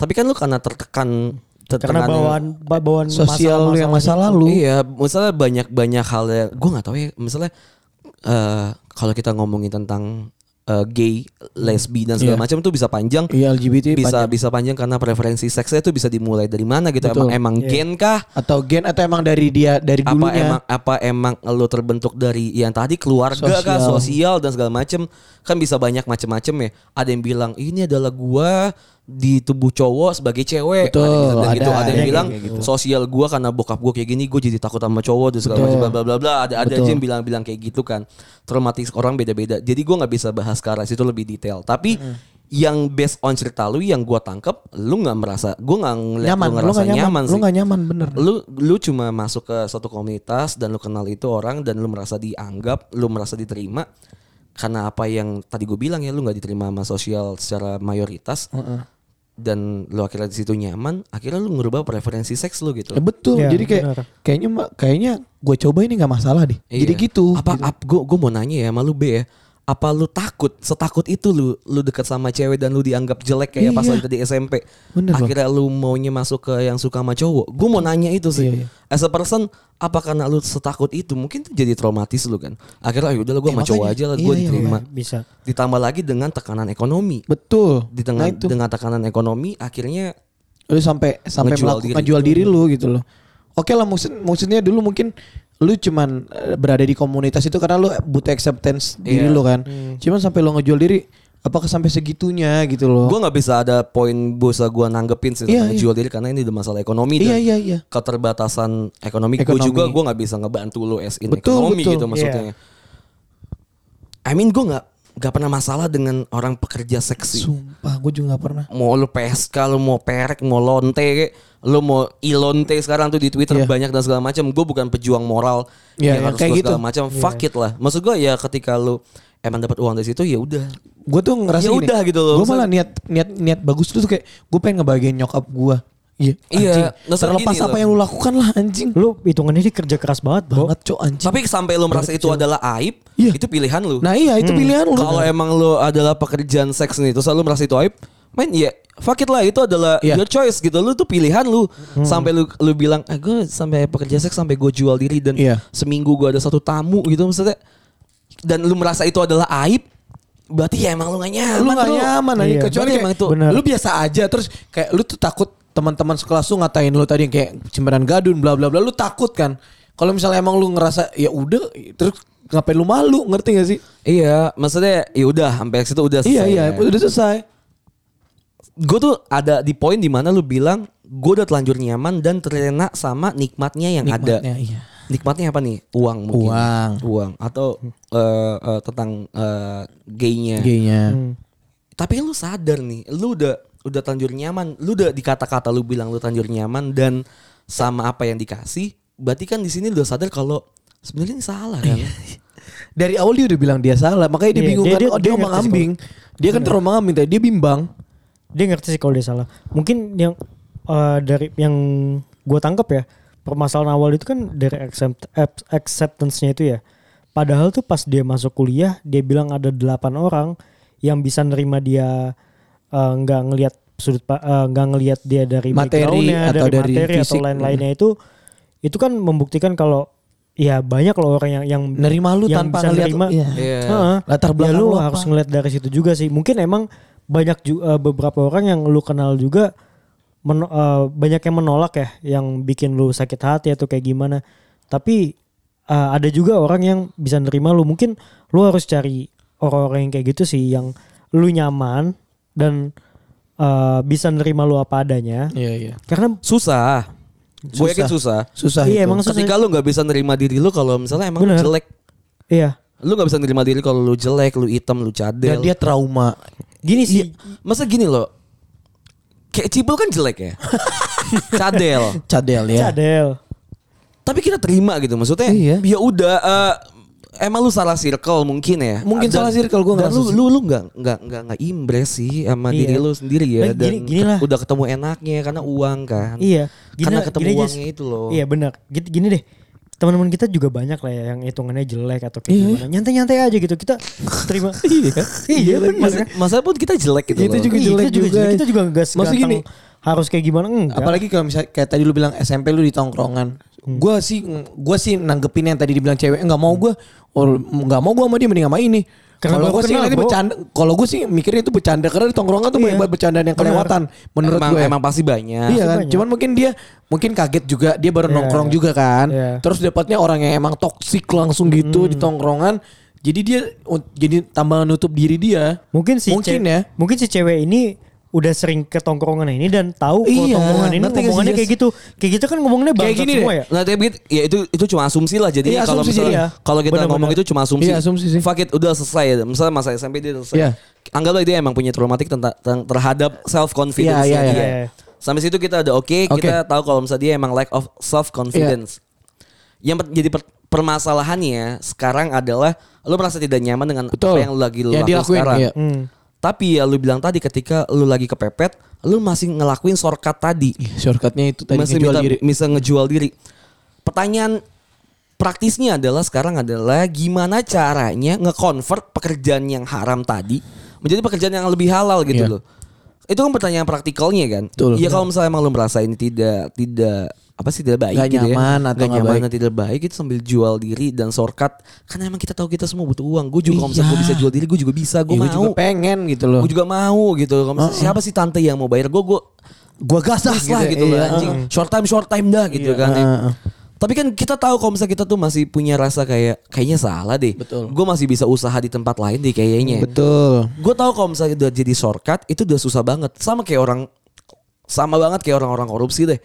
S3: Tapi kan lu karena tertekan
S4: Karena
S3: tertekan yang-
S4: bawaan ba- bawaan
S2: Sosial lu yang masa
S4: masalah-masalah
S2: lalu.
S3: Iya, misalnya banyak-banyak hal yang gue nggak tahu ya. Misalnya eh kalau kita ngomongin tentang eh, gay, lesbi dan segala
S2: Iya.
S3: macam itu bisa panjang.
S2: Iya LGBT
S3: bisa
S2: panjang.
S3: bisa panjang karena preferensi seksnya itu bisa dimulai dari mana gitu.
S2: Betul. Iya.
S3: Emang emang gen kah?
S2: atau gen atau emang dari dia dari
S3: Apa
S2: dulunya.
S3: emang apa emang lo terbentuk dari yang tadi keluarga kah,
S2: Sosial.
S3: sosial dan segala macam. Kan bisa banyak macam-macam ya. Ada yang bilang ini adalah gua di tubuh cowok sebagai cewek.
S2: Betul,
S3: ada yang bilang
S2: ada,
S3: gitu. Ada yang
S2: ada
S3: bilang
S2: kayak
S3: sosial gua karena bokap gua kayak gini gue jadi takut sama cowok dan segala macam bla bla bla bla ada ada aja yang bilang-bilang kayak gitu kan traumatis orang beda-beda jadi gua nggak bisa bahas ke arah situ lebih detail tapi yang based on cerita lu yang gua tangkep lu nggak merasa gua nggak ngeliat
S2: Nyaman,
S3: lu
S2: lu
S3: ngerasa
S2: nggak nyaman,
S3: nyaman,
S2: lu
S3: sih
S2: nggak nyaman, bener.
S3: lu lu cuma masuk ke suatu komunitas dan lu kenal itu orang dan lu merasa dianggap lu merasa diterima karena apa yang tadi gue bilang ya lu nggak diterima sama sosial secara mayoritas dan lu akhirnya di situ nyaman akhirnya lu ngerubah preferensi seks lu gitu
S2: Ya, betul.
S4: Iya,
S2: Jadi kayak
S4: benar.
S2: kayaknya ma- kayaknya gue coba ini nggak masalah deh. Jadi
S3: Iya.
S2: gitu.
S3: Apa ap, gua, gua mau nanya ya sama lu B ya. Apa lu takut setakut itu lu lu deket sama cewek dan lu dianggap jelek kayak pas
S2: Iya.
S3: lu tadi SMP.
S2: Bener loh.
S3: Akhirnya lu maunya masuk ke yang suka sama cowok. Gua mau nanya itu sih.
S2: Iya, iya.
S3: As a person apa karena lu setakut itu mungkin tuh jadi traumatis lu kan. Akhirnya ayo udahlah gua
S2: Ya,
S3: sama cowok
S2: makanya.
S3: aja lah
S2: Iya,
S3: gua
S2: iya,
S3: diterima.
S4: Bisa.
S3: Ditambah lagi dengan tekanan ekonomi.
S2: Betul.
S3: Di tengah
S2: Nah, itu.
S3: dengan tekanan ekonomi akhirnya
S2: lu sampai sampai
S3: Ngejual
S2: melakukan
S3: diri.
S2: jual diri lu gitu loh. Oke lah maksud, maksudnya dulu mungkin lu cuman eh, berada di komunitas itu karena lu butuh acceptance diri
S3: Iya.
S2: lu kan. Cuman sampai lu ngejual diri apakah sampai segitunya gitu loh.
S3: gua nggak bisa ada poin bisa gua nanggepin sih
S2: Iya,
S3: tentang
S2: iya.
S3: jual diri karena ini udah masalah ekonomi
S2: iya
S3: dan
S2: iya iya.
S3: keterbatasan ekonomi, gue
S2: Ekonomi.
S3: juga gue nggak bisa ngebantu lo as in
S2: Betul, betul.
S3: ekonomi
S2: Iya.
S3: gitu maksudnya. I mean gue nggak nggak pernah masalah dengan orang pekerja seksi.
S2: Sumpah gue juga gak pernah.
S3: Mau lo PSK, lo mau perek, mau lonte, lo mau ilonte sekarang tuh di Twitter
S2: Iya.
S3: banyak dan segala macam. Gue bukan pejuang moral
S2: Iya,
S3: yang
S2: iya,
S3: harus
S2: kayak
S3: lo
S2: gitu.
S3: segala macam. Fuck it lah. Maksud gue ya ketika lo emang dapat uang dari situ ya udah.
S2: gue tuh ngerasa
S3: Ya udah gitu loh,
S2: gue malah
S3: maksudnya-
S2: niat niat niat bagus tuh kayak gue pengen ngebahagiain nyokap gue iya
S3: Iya,
S2: anjing.
S3: maksudnya
S2: terlepas
S3: gini
S2: apa
S3: loh.
S2: yang lu lakukan lah anjing
S4: Lu hitungannya sih kerja keras banget, Bro.
S2: banget cok anjing
S3: Tapi sampai lo merasa itu adalah aib,
S2: Iya.
S3: itu pilihan lo.
S2: nah iya itu pilihan lu
S3: Hmm. Kalau emang lo adalah pekerjaan seks nih, terus lo merasa itu aib, main ya fuck it lah itu adalah
S2: Iya. Hmm.
S3: your choice gitu. Lu tuh pilihan lu sampai lu lu bilang, "Eh, gue sampai pekerja seks sampai gue jual diri dan
S2: Iya.
S3: seminggu gue ada satu tamu gitu maksudnya." Dan lu merasa itu adalah aib, berarti ya emang lu gak nyaman.
S2: lu gak
S3: bro.
S2: nyaman anjing
S4: Iya.
S2: kecuali
S3: Berarti
S2: kayak
S3: emang itu-
S4: Bener.
S2: lu biasa aja terus kayak lu tuh takut teman-teman sekelas lu ngatain lu tadi yang kayak cemberan gadun bla bla bla lu takut kan kalau misalnya emang lu ngerasa ya udah terus ngapain lu malu ngerti gak sih
S3: Iya, maksudnya ya udah sampai situ udah
S2: iya
S3: selesai
S2: iya
S3: ya.
S2: udah selesai
S3: gue tuh ada di poin dimana lu bilang gue udah telanjur nyaman dan terlena sama nikmatnya yang
S2: Nikmatnya,
S3: ada.
S2: iya.
S3: Nikmatnya apa nih? Uang mungkin.
S2: Uang.
S3: Uang atau eh, eh, tentang eh, gaynya.
S2: gayanya
S3: Tapi lu sadar nih, lu udah udah telanjur nyaman, lu udah di kata-kata lu bilang lu telanjur nyaman dan sama apa yang dikasih, berarti kan di sini lu udah sadar kalau sebenarnya ini salah kan.
S2: Iya. dari awal dia udah bilang dia salah makanya dia
S4: Iya,
S2: bingung
S4: dia-
S2: kan
S4: dia-
S2: oh,
S4: dia
S2: dia, omang
S4: ngerti sih
S2: ambing dia kan terombang ambing tadi dia bimbang
S4: Dia ngerti sih kalau dia salah. Mungkin yang eh, dari yang gua tangkap ya, permasalahan awal itu kan dari accept, ap- acceptance-nya itu ya. Padahal tuh pas dia masuk kuliah, dia bilang ada delapan orang yang bisa nerima dia eh, nggak ngelihat sudut pa- eh, nggak ngelihat dia dari
S2: Materi
S4: backgroundnya,
S2: atau dari
S4: materi atau
S2: fisik.
S4: lain-lainnya itu itu kan membuktikan kalau ya banyak loh orang yang yang
S2: Nerima lu
S4: yang
S2: tanpa
S4: bisa
S2: ngeliat
S4: nerima.
S2: iya.
S3: Iya.
S4: Heeh.
S2: Latar
S4: Ya,
S2: belakang
S4: lu
S2: lu apa?
S4: harus ngeliat dari situ juga sih. Mungkin emang banyak ju- eh, beberapa orang yang lu kenal juga men- eh, banyak yang menolak ya, yang bikin lu sakit hati atau kayak gimana. Tapi eh, ada juga orang yang bisa nerima lu. Mungkin lu harus cari orang-orang yang kayak gitu sih, yang lu nyaman dan eh, bisa nerima lu apa adanya.
S2: Iya iya.
S4: Karena
S3: Susah. Gue yakin susah.
S2: Susah
S4: Iya,
S2: itu.
S4: emang susah.
S3: Ketika lu nggak bisa nerima diri lu kalau misalnya emang
S4: Bener.
S3: lu jelek,
S4: iya,
S3: lu nggak bisa nerima diri kalau lu jelek, lu hitam, lu
S2: Dan
S3: cadel.
S2: Nah, dia trauma.
S4: gini
S3: Iya,
S4: sih.
S3: masa gini loh. Kayak cibul kan jelek ya. cadel.
S2: Cadel ya.
S4: Cadel.
S3: Tapi kita terima gitu maksudnya.
S2: Iya.
S3: Ya udah eh, emang lu salah circle mungkin ya.
S2: Mungkin salah circle, gua
S3: dan
S2: ngerasa
S3: lu
S2: sih.
S3: lu lu nggak nggak nggak nggak impress sih sama
S4: Iya.
S3: diri lu sendiri ya
S4: Nah,
S3: dan
S4: gini- gini lah.
S3: udah ketemu enaknya karena uang kan.
S4: Iya.
S3: Karena
S4: lah,
S3: ketemu
S4: aja
S3: uangnya
S4: sih.
S3: itu loh.
S4: Iya benar. Gini, gini deh. Teman-teman kita juga banyak lah ya yang hitungannya jelek atau kayak
S2: Iya.
S4: gimana. Nyantai-nyantai aja gitu. Kita terima. iya kan? Iya benar.
S3: Masa, masa pun kita jelek gitu
S2: Itu
S3: loh.
S2: juga
S4: Iya,
S2: jelek
S4: kita juga
S2: juga.
S4: jelek. Kita juga nggak
S2: Maksud
S4: seganteng
S2: gini,
S4: harus kayak gimana enggak.
S2: Apalagi kalau misalnya kayak tadi lu bilang SMP lu di tongkrongan.
S4: Hmm.
S2: Gua sih gua sih nanggepin yang tadi dibilang cewek nggak mau gua oh, nggak mau gua sama dia mending sama ini.
S4: Karena
S2: Kalau
S4: baru
S2: gua sih
S4: kenal, Iya.
S2: ngeliatnya
S4: Bro.
S2: bercanda, kalau gua sih mikirnya itu bercanda karena di tongkrongan tuh banyak banget bercandaan yang kelewatan menurut ya.
S3: emang,
S2: gue.
S3: emang pasti Nah, banyak.
S2: Iya kan,
S4: banyak.
S2: cuman mungkin dia mungkin kaget juga, dia baru nongkrong juga kan.
S4: Iya.
S2: Terus dapatnya orang yang emang toksik langsung gitu di tongkrongan. Jadi dia un- jadi tambah nutup diri dia.
S4: mungkin si
S2: Mungkin
S4: ce-
S2: ya.
S4: Mungkin si cewek ini udah sering ke tongkrongan ini dan tahu kalau
S2: Iya,
S4: tongkrongan ini
S2: ngerti gak sih,
S4: ngomongannya
S2: Jas?
S4: kayak gitu. Kayak gitu kan ngomongannya
S2: Kayak
S4: bangsat
S2: gini
S4: semua
S2: deh.
S4: ya.
S3: Nah tapi gitu- ya itu itu cuma asumsi lah jadi
S2: Iya,
S3: kalau
S2: asumsi
S3: misalnya
S4: sih, iya.
S3: kalau kita
S4: Benar-benar.
S3: ngomong itu cuma asumsi.
S2: Iya, asumsi sih.
S3: Fuck it, udah selesai. Misalnya masa SMP dia udah selesai.
S2: Iya.
S3: Anggaplah dia emang punya traumatik tentang, tentang- terhadap self confidence
S2: Iya, iya,
S3: dia.
S4: iya.
S3: Sampai situ kita udah oke,
S2: Oke.
S3: kita tahu kalau misalnya dia emang lack of self confidence.
S2: Iya.
S3: Yang per- jadi per- permasalahannya sekarang adalah lu merasa tidak nyaman dengan
S2: Betul.
S3: apa yang lu lagi lu
S2: Yang
S3: lakuin
S2: dilakuin,
S3: sekarang.
S2: iya.
S4: Hmm.
S3: Tapi ya lu bilang tadi ketika lu lagi kepepet, lu masih ngelakuin shortcut tadi
S2: Ih, Shortcutnya itu tadi
S3: masih
S2: ngejual
S3: minta-
S2: diri.
S3: bisa ngejual diri. Pertanyaan praktisnya adalah sekarang adalah gimana caranya nge-convert pekerjaan yang haram tadi menjadi pekerjaan yang lebih halal gitu
S2: Iya.
S3: loh. Itu kan pertanyaan praktikalnya kan.
S2: Betul.
S3: Iya kalau misalnya emang lu merasa ini tidak tidak apa sih tidak baik
S2: Nggak
S3: gitu
S2: nyaman
S3: ya.
S2: atau
S3: Nggak
S2: nggak
S3: nyaman
S2: baik.
S3: dan tidak baik itu sambil jual diri dan shortcut karena emang kita tahu kita semua butuh uang. Gue juga kalau misalnya gue
S2: Iya.
S3: bisa jual diri gue juga bisa, gue
S2: Ya, gua
S3: mau.
S2: juga pengen gitu loh.
S3: Gue juga mau gitu. Kalau misalnya siapa sih tante yang mau bayar gue? Gue gue gas dah
S2: Gitu
S3: lah
S2: ya,
S3: gitu loh
S2: iya.
S3: anjing. Short time short time dah gitu kan. ya. Tapi kan kita tahu kalau misalnya kita tuh masih punya rasa kayak kayaknya salah deh.
S2: Betul.
S3: Gue masih bisa usaha di tempat lain deh kayaknya.
S2: Betul.
S3: Gue tahu kalau misalnya udah jadi shortcut itu udah susah banget. Sama kayak orang sama banget kayak orang-orang korupsi deh.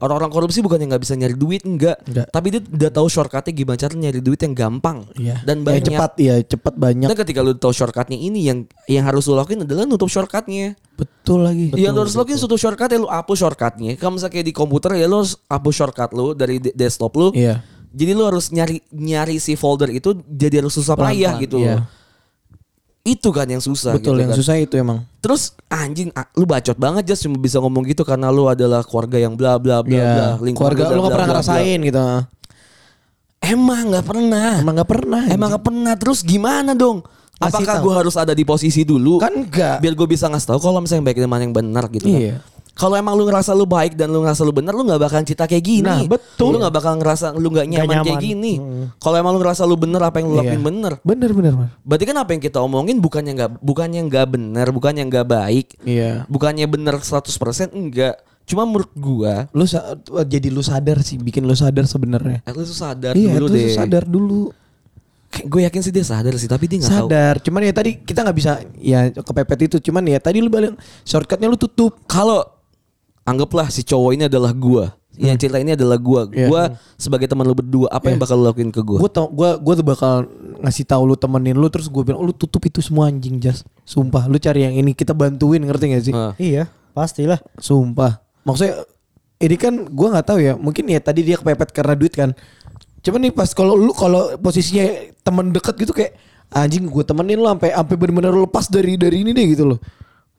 S3: Orang-orang korupsi bukannya nggak bisa nyari duit enggak,
S2: Enggak.
S3: tapi dia udah tahu shortcutnya gimana cara nyari duit yang gampang
S2: Iya. Ya,
S3: dan banyak.
S2: cepat ya, cepat banyak.
S3: Dan Nah, ketika lu tahu shortcutnya ini yang yang harus lu lakuin adalah nutup shortcutnya.
S2: Betul lagi.
S3: Iya lu harus login suatu shortcut ya lu hapus shortcutnya. Kalau misalnya kayak di komputer ya lu harus hapus shortcut lu dari de- desktop lu.
S2: Iya.
S3: Jadi lu harus nyari nyari si folder itu jadi harus susah payah
S2: Pelan-pelan,
S3: gitu
S2: iya.
S3: loh. Itu kan yang susah
S2: Betul
S3: gitu
S2: yang
S3: kan.
S2: susah itu emang.
S3: Terus anjing ah, lu bacot banget just cuma bisa ngomong gitu karena lu adalah keluarga yang bla bla
S2: Iya.
S3: bla bla. lingkungan
S2: Keluarga
S3: bla,
S2: lu
S3: bla,
S2: gak pernah
S3: bla, bla.
S2: ngerasain gitu.
S3: Emang nggak pernah.
S2: Emang gak pernah.
S3: Emang nggak pernah. Terus gimana dong?
S2: Ngasih
S3: Apakah
S2: tahu.
S3: gue harus ada di posisi dulu?
S2: Kan enggak.
S3: Biar gue bisa ngasih tahu kalau misalnya yang baik dan mana yang benar gitu. kan.
S2: Iya.
S3: Kalau emang lu ngerasa lu baik dan lu ngerasa lu benar, lu nggak bakalan cita kayak gini.
S2: Nah, betul.
S3: Lu nggak bakal ngerasa lu nggak nyaman,
S4: Nggak nyaman.
S3: kayak gini. Kalau emang lu ngerasa lu benar apa yang lu lakuin
S2: Iya.
S3: benar.
S2: Bener bener. Mas.
S3: Berarti kan apa yang kita omongin bukannya nggak bukannya nggak benar, bukannya nggak baik,
S2: Iya.
S3: bukannya benar 100% enggak. Cuma menurut gua,
S2: Lu sa- jadi lu sadar sih, bikin lu sadar sebenarnya.
S3: at least lu sadar
S2: Iya,
S3: dulu
S2: terus lu
S3: deh.
S2: sadar dulu.
S3: Kayak Gue yakin sih dia sadar sih, tapi dia nggak tahu.
S2: sadar. Cuman ya tadi kita nggak bisa ya kepepet itu. Cuman ya tadi lu balik shortcutnya lu tutup.
S3: kalau anggaplah si cowok ini adalah gua. Yang cerita ini adalah gua.
S2: Hmm. Iya.
S3: Gua sebagai teman lu berdua, apa yang bakal lu lakuin ke gua?
S2: Gue tau, gue gue tuh bakal ngasih tahu lu temenin lu terus gue bilang, oh, lu tutup itu semua anjing jas. Sumpah, lu cari yang ini kita bantuin ngerti gak sih?
S3: Heeh.
S4: Iya, pastilah.
S2: Sumpah. Maksudnya ini kan gue nggak tahu ya. Mungkin ya tadi dia kepepet karena duit kan. Cuman nih pas kalau lu kalau posisinya temen deket gitu kayak anjing gue temenin lu sampai sampai benar-benar lu lepas dari dari ini deh gitu loh.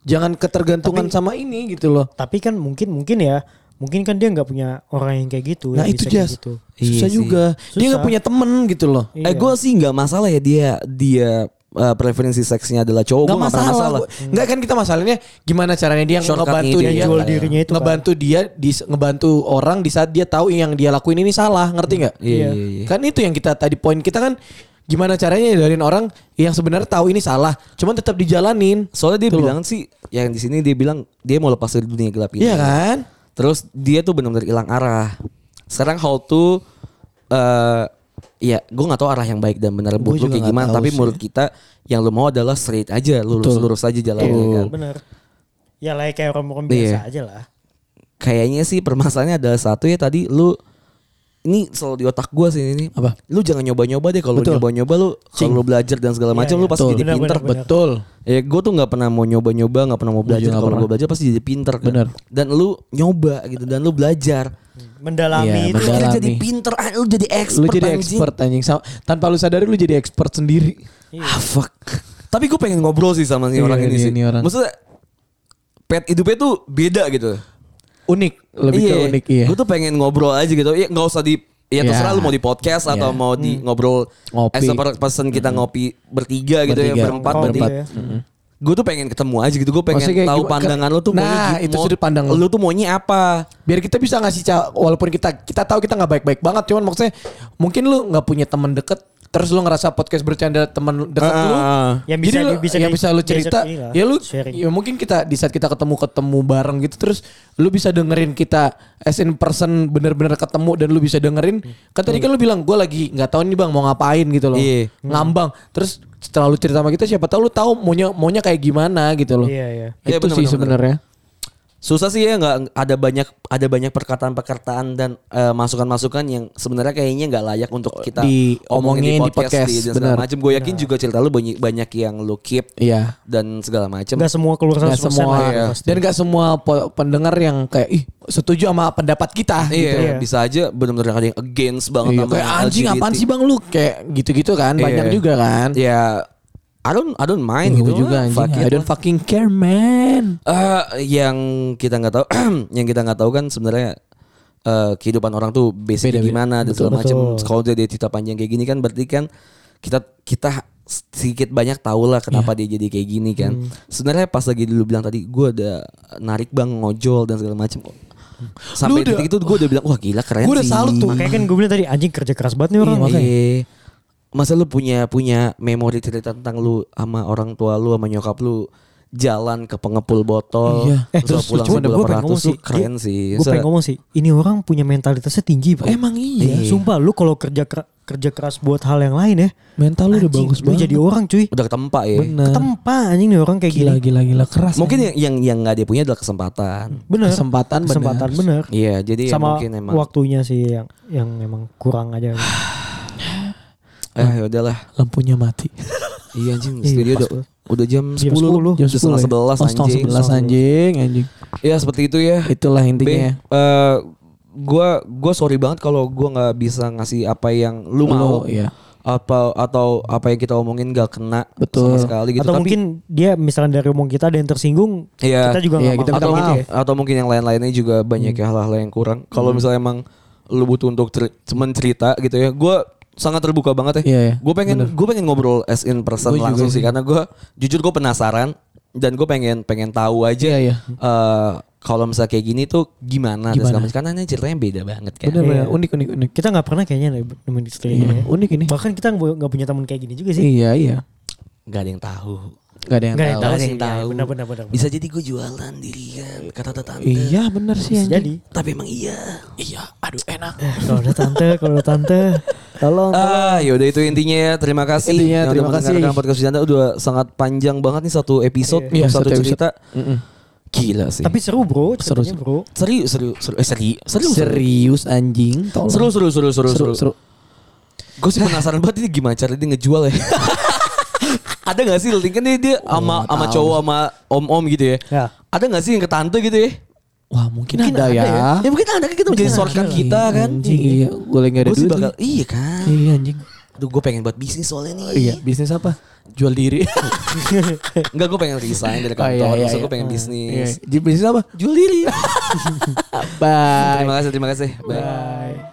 S2: Jangan ketergantungan sama ini gitu loh.
S4: Tapi kan mungkin mungkin ya, mungkin kan dia nggak punya orang yang kayak gitu
S2: Nah
S4: yang
S2: itu
S4: bisa kayak
S2: jas
S4: gitu.
S2: susah
S3: Iya sih.
S2: juga. Dia
S4: Susah.
S2: nggak punya temen gitu loh.
S3: Eh gue sih nggak masalah ya dia dia eh, preferensi seksnya adalah cowok, gue
S2: Gak
S3: nggak pernah
S2: masalah.
S3: masalah.
S2: Gua- Nggak kan kita masalahnya gimana caranya dia
S3: Shortcutnya
S2: ngebantu
S3: dia
S2: dia,
S4: jual dirinya itu kan.
S2: ngebantu dia di, ngebantu orang di saat dia tahu yang dia lakuin ini salah, ngerti nggak?
S3: Iya, iya, iya.
S2: Kan itu yang kita tadi poin kita kan gimana caranya dari orang yang sebenarnya tahu ini salah, cuman tetap dijalanin.
S3: Soalnya dia
S2: Tuh.
S3: bilang sih, yang di sini dia bilang dia mau lepas dari dunia gelap ini.
S2: Iya kan?
S3: Terus dia tuh benar-benar hilang arah. Sekarang how to eh ya gue nggak tahu arah yang baik dan benar buat lu
S2: juga
S3: kayak
S2: nggak
S3: gimana,
S2: tahu
S3: tapi
S2: sih.
S3: menurut kita yang lu mau adalah straight aja, lurus-lurus aja jalannya kan.
S4: Bener. Ya lah kayak
S3: Iya.
S4: orang-orang biasa aja lah.
S3: Kayaknya sih permasalahannya adalah satu ya tadi lu ini selalu di otak gue sih ini.
S2: Apa?
S3: Lu jangan nyoba-nyoba deh
S2: Betul.
S3: kalau
S2: Iya,
S3: nyoba-nyoba lu kalau lu belajar dan segala macam lu pasti
S2: Betul.
S3: jadi
S4: Benar,
S3: pinter.
S4: benar, benar.
S2: Betul.
S3: Ya gue tuh nggak pernah mau nyoba-nyoba, nggak pernah mau
S2: Gua juga
S3: belajar.
S2: nggak
S3: Kalau
S2: pernah.
S3: gue belajar pasti jadi pinter. Kan?
S2: Benar.
S3: Dan lu nyoba gitu dan lu belajar.
S4: Mendalami
S2: Iya,
S4: itu.
S2: mendalami.
S4: kan
S3: Lu
S2: Dalami.
S3: jadi pinter, ah, lu jadi expert.
S2: Lu jadi
S3: anjing.
S2: expert anjing Sama- tanpa lu sadari lu jadi expert sendiri.
S4: Iya.
S3: Ah fuck. Tapi gue pengen ngobrol sih sama si
S2: Iya,
S3: orang ini
S2: iya,
S3: sih.
S2: ini orang.
S3: Maksudnya pet hidupnya tuh beda gitu.
S2: Unik, lebih ke unik iya.
S3: Gue tuh pengen ngobrol aja gitu. Iya nggak usah di Ya
S2: Iya.
S3: terserah lu mau di podcast atau
S2: Iya.
S3: mau di ngobrol
S2: Ngopi. Hmm.
S3: as a per- person kita ngopi bertiga gitu ya
S2: Bertiga. Hmm.
S3: berempat
S4: Ngobrol
S3: bertiga.
S4: gitu ya.
S3: Gue tuh pengen ketemu aja gitu. Gue pengen
S2: Maksudnya kayak
S3: tahu
S2: gimana-
S3: pandangan lu tuh
S2: Nah,
S3: gi-
S2: itu sudut pandang lu.
S3: Lu tuh maunya apa?
S2: biar kita bisa ngasih ca- walaupun kita kita tahu kita nggak baik-baik banget cuman maksudnya mungkin lu nggak punya teman deket terus lu ngerasa podcast bercanda teman deket
S3: Ah,
S2: lu
S3: ah, ah.
S4: Yang
S2: jadi
S4: bisa
S2: lu,
S4: di- bisa
S2: yang
S4: di-
S2: bisa lu
S4: diajak
S2: cerita
S4: ini lah,
S2: ya lu
S4: sharing.
S2: ya mungkin kita di saat kita ketemu ketemu bareng gitu terus lu bisa dengerin kita as in person bener-bener ketemu dan lu bisa dengerin kan tadi kan lu bilang gue lagi nggak tahu nih bang mau ngapain gitu loh
S3: Iya.
S2: ngambang terus setelah lu cerita sama kita siapa tahu lu tahu maunya maunya kayak gimana gitu loh
S4: Iya, iya.
S2: itu
S3: Iya, bener,
S2: sih
S3: bener, bener.
S2: sebenarnya
S3: susah sih ya nggak ada banyak ada banyak perkataan-perkataan dan eh, masukan-masukan yang sebenarnya kayaknya nggak layak untuk kita
S2: Diomongin di podcast,
S3: di- dan segala
S2: benar.
S3: macam. Gue yakin juga cerita lu banyak banyak yang lu keep
S2: iya
S3: dan segala macam.
S4: Gak semua keluar 100%
S2: Gak semua iya.
S4: lah
S3: Iya.
S4: ya, pasti.
S2: dan gak semua po- pendengar yang kayak ih setuju sama pendapat kita gitu.
S3: Iya, bisa aja benar-benar ada yang against banget
S2: Iya,
S3: sama
S2: kayak anjing
S3: LGBT.
S2: apaan sih bang lu kayak gitu-gitu kan banyak
S3: Iya.
S2: juga kan.
S3: Ya I don't I don't mind
S2: Gue
S3: gitu
S2: juga anjing.
S3: Fuck it
S2: I don't
S3: lah.
S2: fucking care man.
S3: Eh, yang kita nggak tahu yang kita nggak tahu kan sebenarnya eh, kehidupan orang tuh basicnya
S2: Beda-beda.
S3: gimana dan segala macam kalau udah dia cerita panjang kayak gini kan berarti kan kita kita sedikit banyak tahu lah kenapa
S2: Iya.
S3: dia jadi kayak gini kan
S2: Hmm.
S3: sebenarnya pas lagi dulu bilang tadi gue ada narik bang ngojol dan segala macam
S2: Lu
S3: sampai
S2: udah-
S3: titik itu gue udah bilang wah gila keren
S2: Gua udah
S3: sih
S2: salut tuh.
S4: Makanya kan gue bilang tadi anjing kerja keras banget nih orang.
S3: Iya, makanya. Masa lu punya punya memori cerita tentang lu sama orang tua lu sama nyokap lu jalan ke pengepul botol
S2: Iya.
S3: eh,
S2: Eh,
S3: terus, lu pulang
S4: lucu,
S3: sebulan
S4: gua pengen
S3: beratus
S4: ngomong
S3: tuh keren sih.
S4: Gue pengen
S3: Masa-
S4: ngomong sih. Ini orang punya mentalitasnya tinggi, Bro.
S2: Emang iya.
S4: Sumpah lu kalau kerja kera- kerja keras buat hal yang lain ya.
S2: Mental lu udah
S4: anjing,
S2: bagus
S4: lu
S2: banget.
S4: jadi orang cuy.
S3: udah ketempa ya.
S2: Bener.
S4: Ketempa anjing nih orang kayak
S2: Gila
S4: gini.
S2: gila gila keras.
S3: Mungkin
S2: anjing.
S3: yang yang yang nggak dia punya adalah kesempatan.
S4: Bener.
S2: Kesempatan bener.
S4: Kesempatan bener.
S3: Iya, jadi ya
S4: Sama
S3: mungkin emang
S4: waktunya sih yang yang emang kurang aja.
S3: eh ya udahlah.
S2: lampunya mati.
S3: Iya anjing,
S4: Iya,
S3: studio
S4: pas
S3: udah, udah jam 10.
S4: 10.
S3: Jam setengah
S2: 10
S3: sebelas
S2: ya? Oh, setengah
S3: anjing.
S2: sebelas anjing anjing.
S3: Ya seperti itu ya.
S2: Itulah intinya.
S3: B, eh, gua gua sorry banget kalau gua nggak bisa ngasih apa yang lu mau.
S2: Iya.
S3: atau atau apa yang kita omongin gak kena
S2: Betul.
S3: sama sekali gitu
S4: Atau
S3: tapi
S4: mungkin dia misalkan dari omong kita ada yang tersinggung,
S3: Iya.
S4: kita juga
S2: Iya,
S4: nggak
S2: kita
S4: mau
S2: minta
S4: gitu
S2: maaf.
S4: ya.
S3: atau mungkin yang lain-lainnya juga banyak
S2: Hmm.
S3: ya hal-hal yang kurang kalau misalnya emang lu butuh untuk cer- cuman cerita gitu ya gue sangat terbuka banget ya
S2: Iya, iya.
S3: gue pengen gue pengen ngobrol as in
S2: Gua
S3: person
S2: juga
S3: langsung sih karena gue jujur gue penasaran dan gue pengen pengen tahu aja
S2: Iya, iya.
S3: eh, kalau misalnya kayak gini tuh gimana, dan
S2: Gimana?
S3: segala macam. karena ini ceritanya beda banget kan
S2: Bener bener unik unik unik.
S4: Kita nggak pernah kayaknya nemuin istri
S2: Iya,
S4: ini.
S2: unik ini.
S4: Bahkan kita nggak nggak punya teman kayak gini juga sih.
S2: Iya iya.
S3: gak ada yang tahu
S2: Gak ada yang
S4: Nggak
S2: tahu.
S3: Gak
S4: ada yang
S3: ada
S4: sih,
S3: yang
S4: iya,
S3: tahu
S4: benar, benar, benar,
S3: bisa jadi gue jualan dirian kata tetangga
S2: Iya bener sih
S4: Bisa
S2: anjing.
S4: Jadi
S3: tapi emang iya
S2: Iya, aduh enak.
S4: kalau ada tante, kalau ada tante, tolong.
S3: Ah, yaudah itu intinya ya. Terima kasih.
S2: Intinya,
S3: Yang udah
S2: terima kasih.
S3: mendengarkan podcast Bercanda udah sangat panjang banget nih satu episode,
S2: Iya,
S3: satu,
S2: satu episode.
S3: cerita. Gila sih.
S4: Tapi seru bro,
S2: Seru,
S4: ceritanya bro.
S3: serius, serius, serius, eh, serius, serius,
S2: Serius anjing, tolong.
S3: seru, seru, seru, seru, seru.
S2: seru, seru.
S3: Gue sih penasaran banget ini gimana cara dia ngejual ya. Ada gak sih Lin? kan dia, dia
S2: Oh,
S3: sama sama cowok sama om-om gitu ya.
S4: Ya.
S3: Ada gak sih yang ke tante gitu ya?
S2: Wah mungkin, ada, ya.
S3: Ya mungkin ada kan kita menjadi sorkan kita kan.
S2: Anjing, iya, gue lagi gak ada
S3: Gue sih
S2: duit.
S3: bakal
S2: nih.
S3: iya kan.
S2: Iya anjing.
S3: Aduh gue pengen buat bisnis soalnya nih.
S2: Iya, bisnis apa? Jual diri.
S3: Enggak gue pengen resign dari
S2: Oh, iya,
S3: kantor.
S2: iya,
S3: Maksud
S2: iya.
S3: gue pengen
S2: Iya,
S3: bisnis.
S2: bisnis apa?
S3: Jual diri.
S2: Bye.
S3: terima kasih, terima kasih. Bye.
S2: Bye.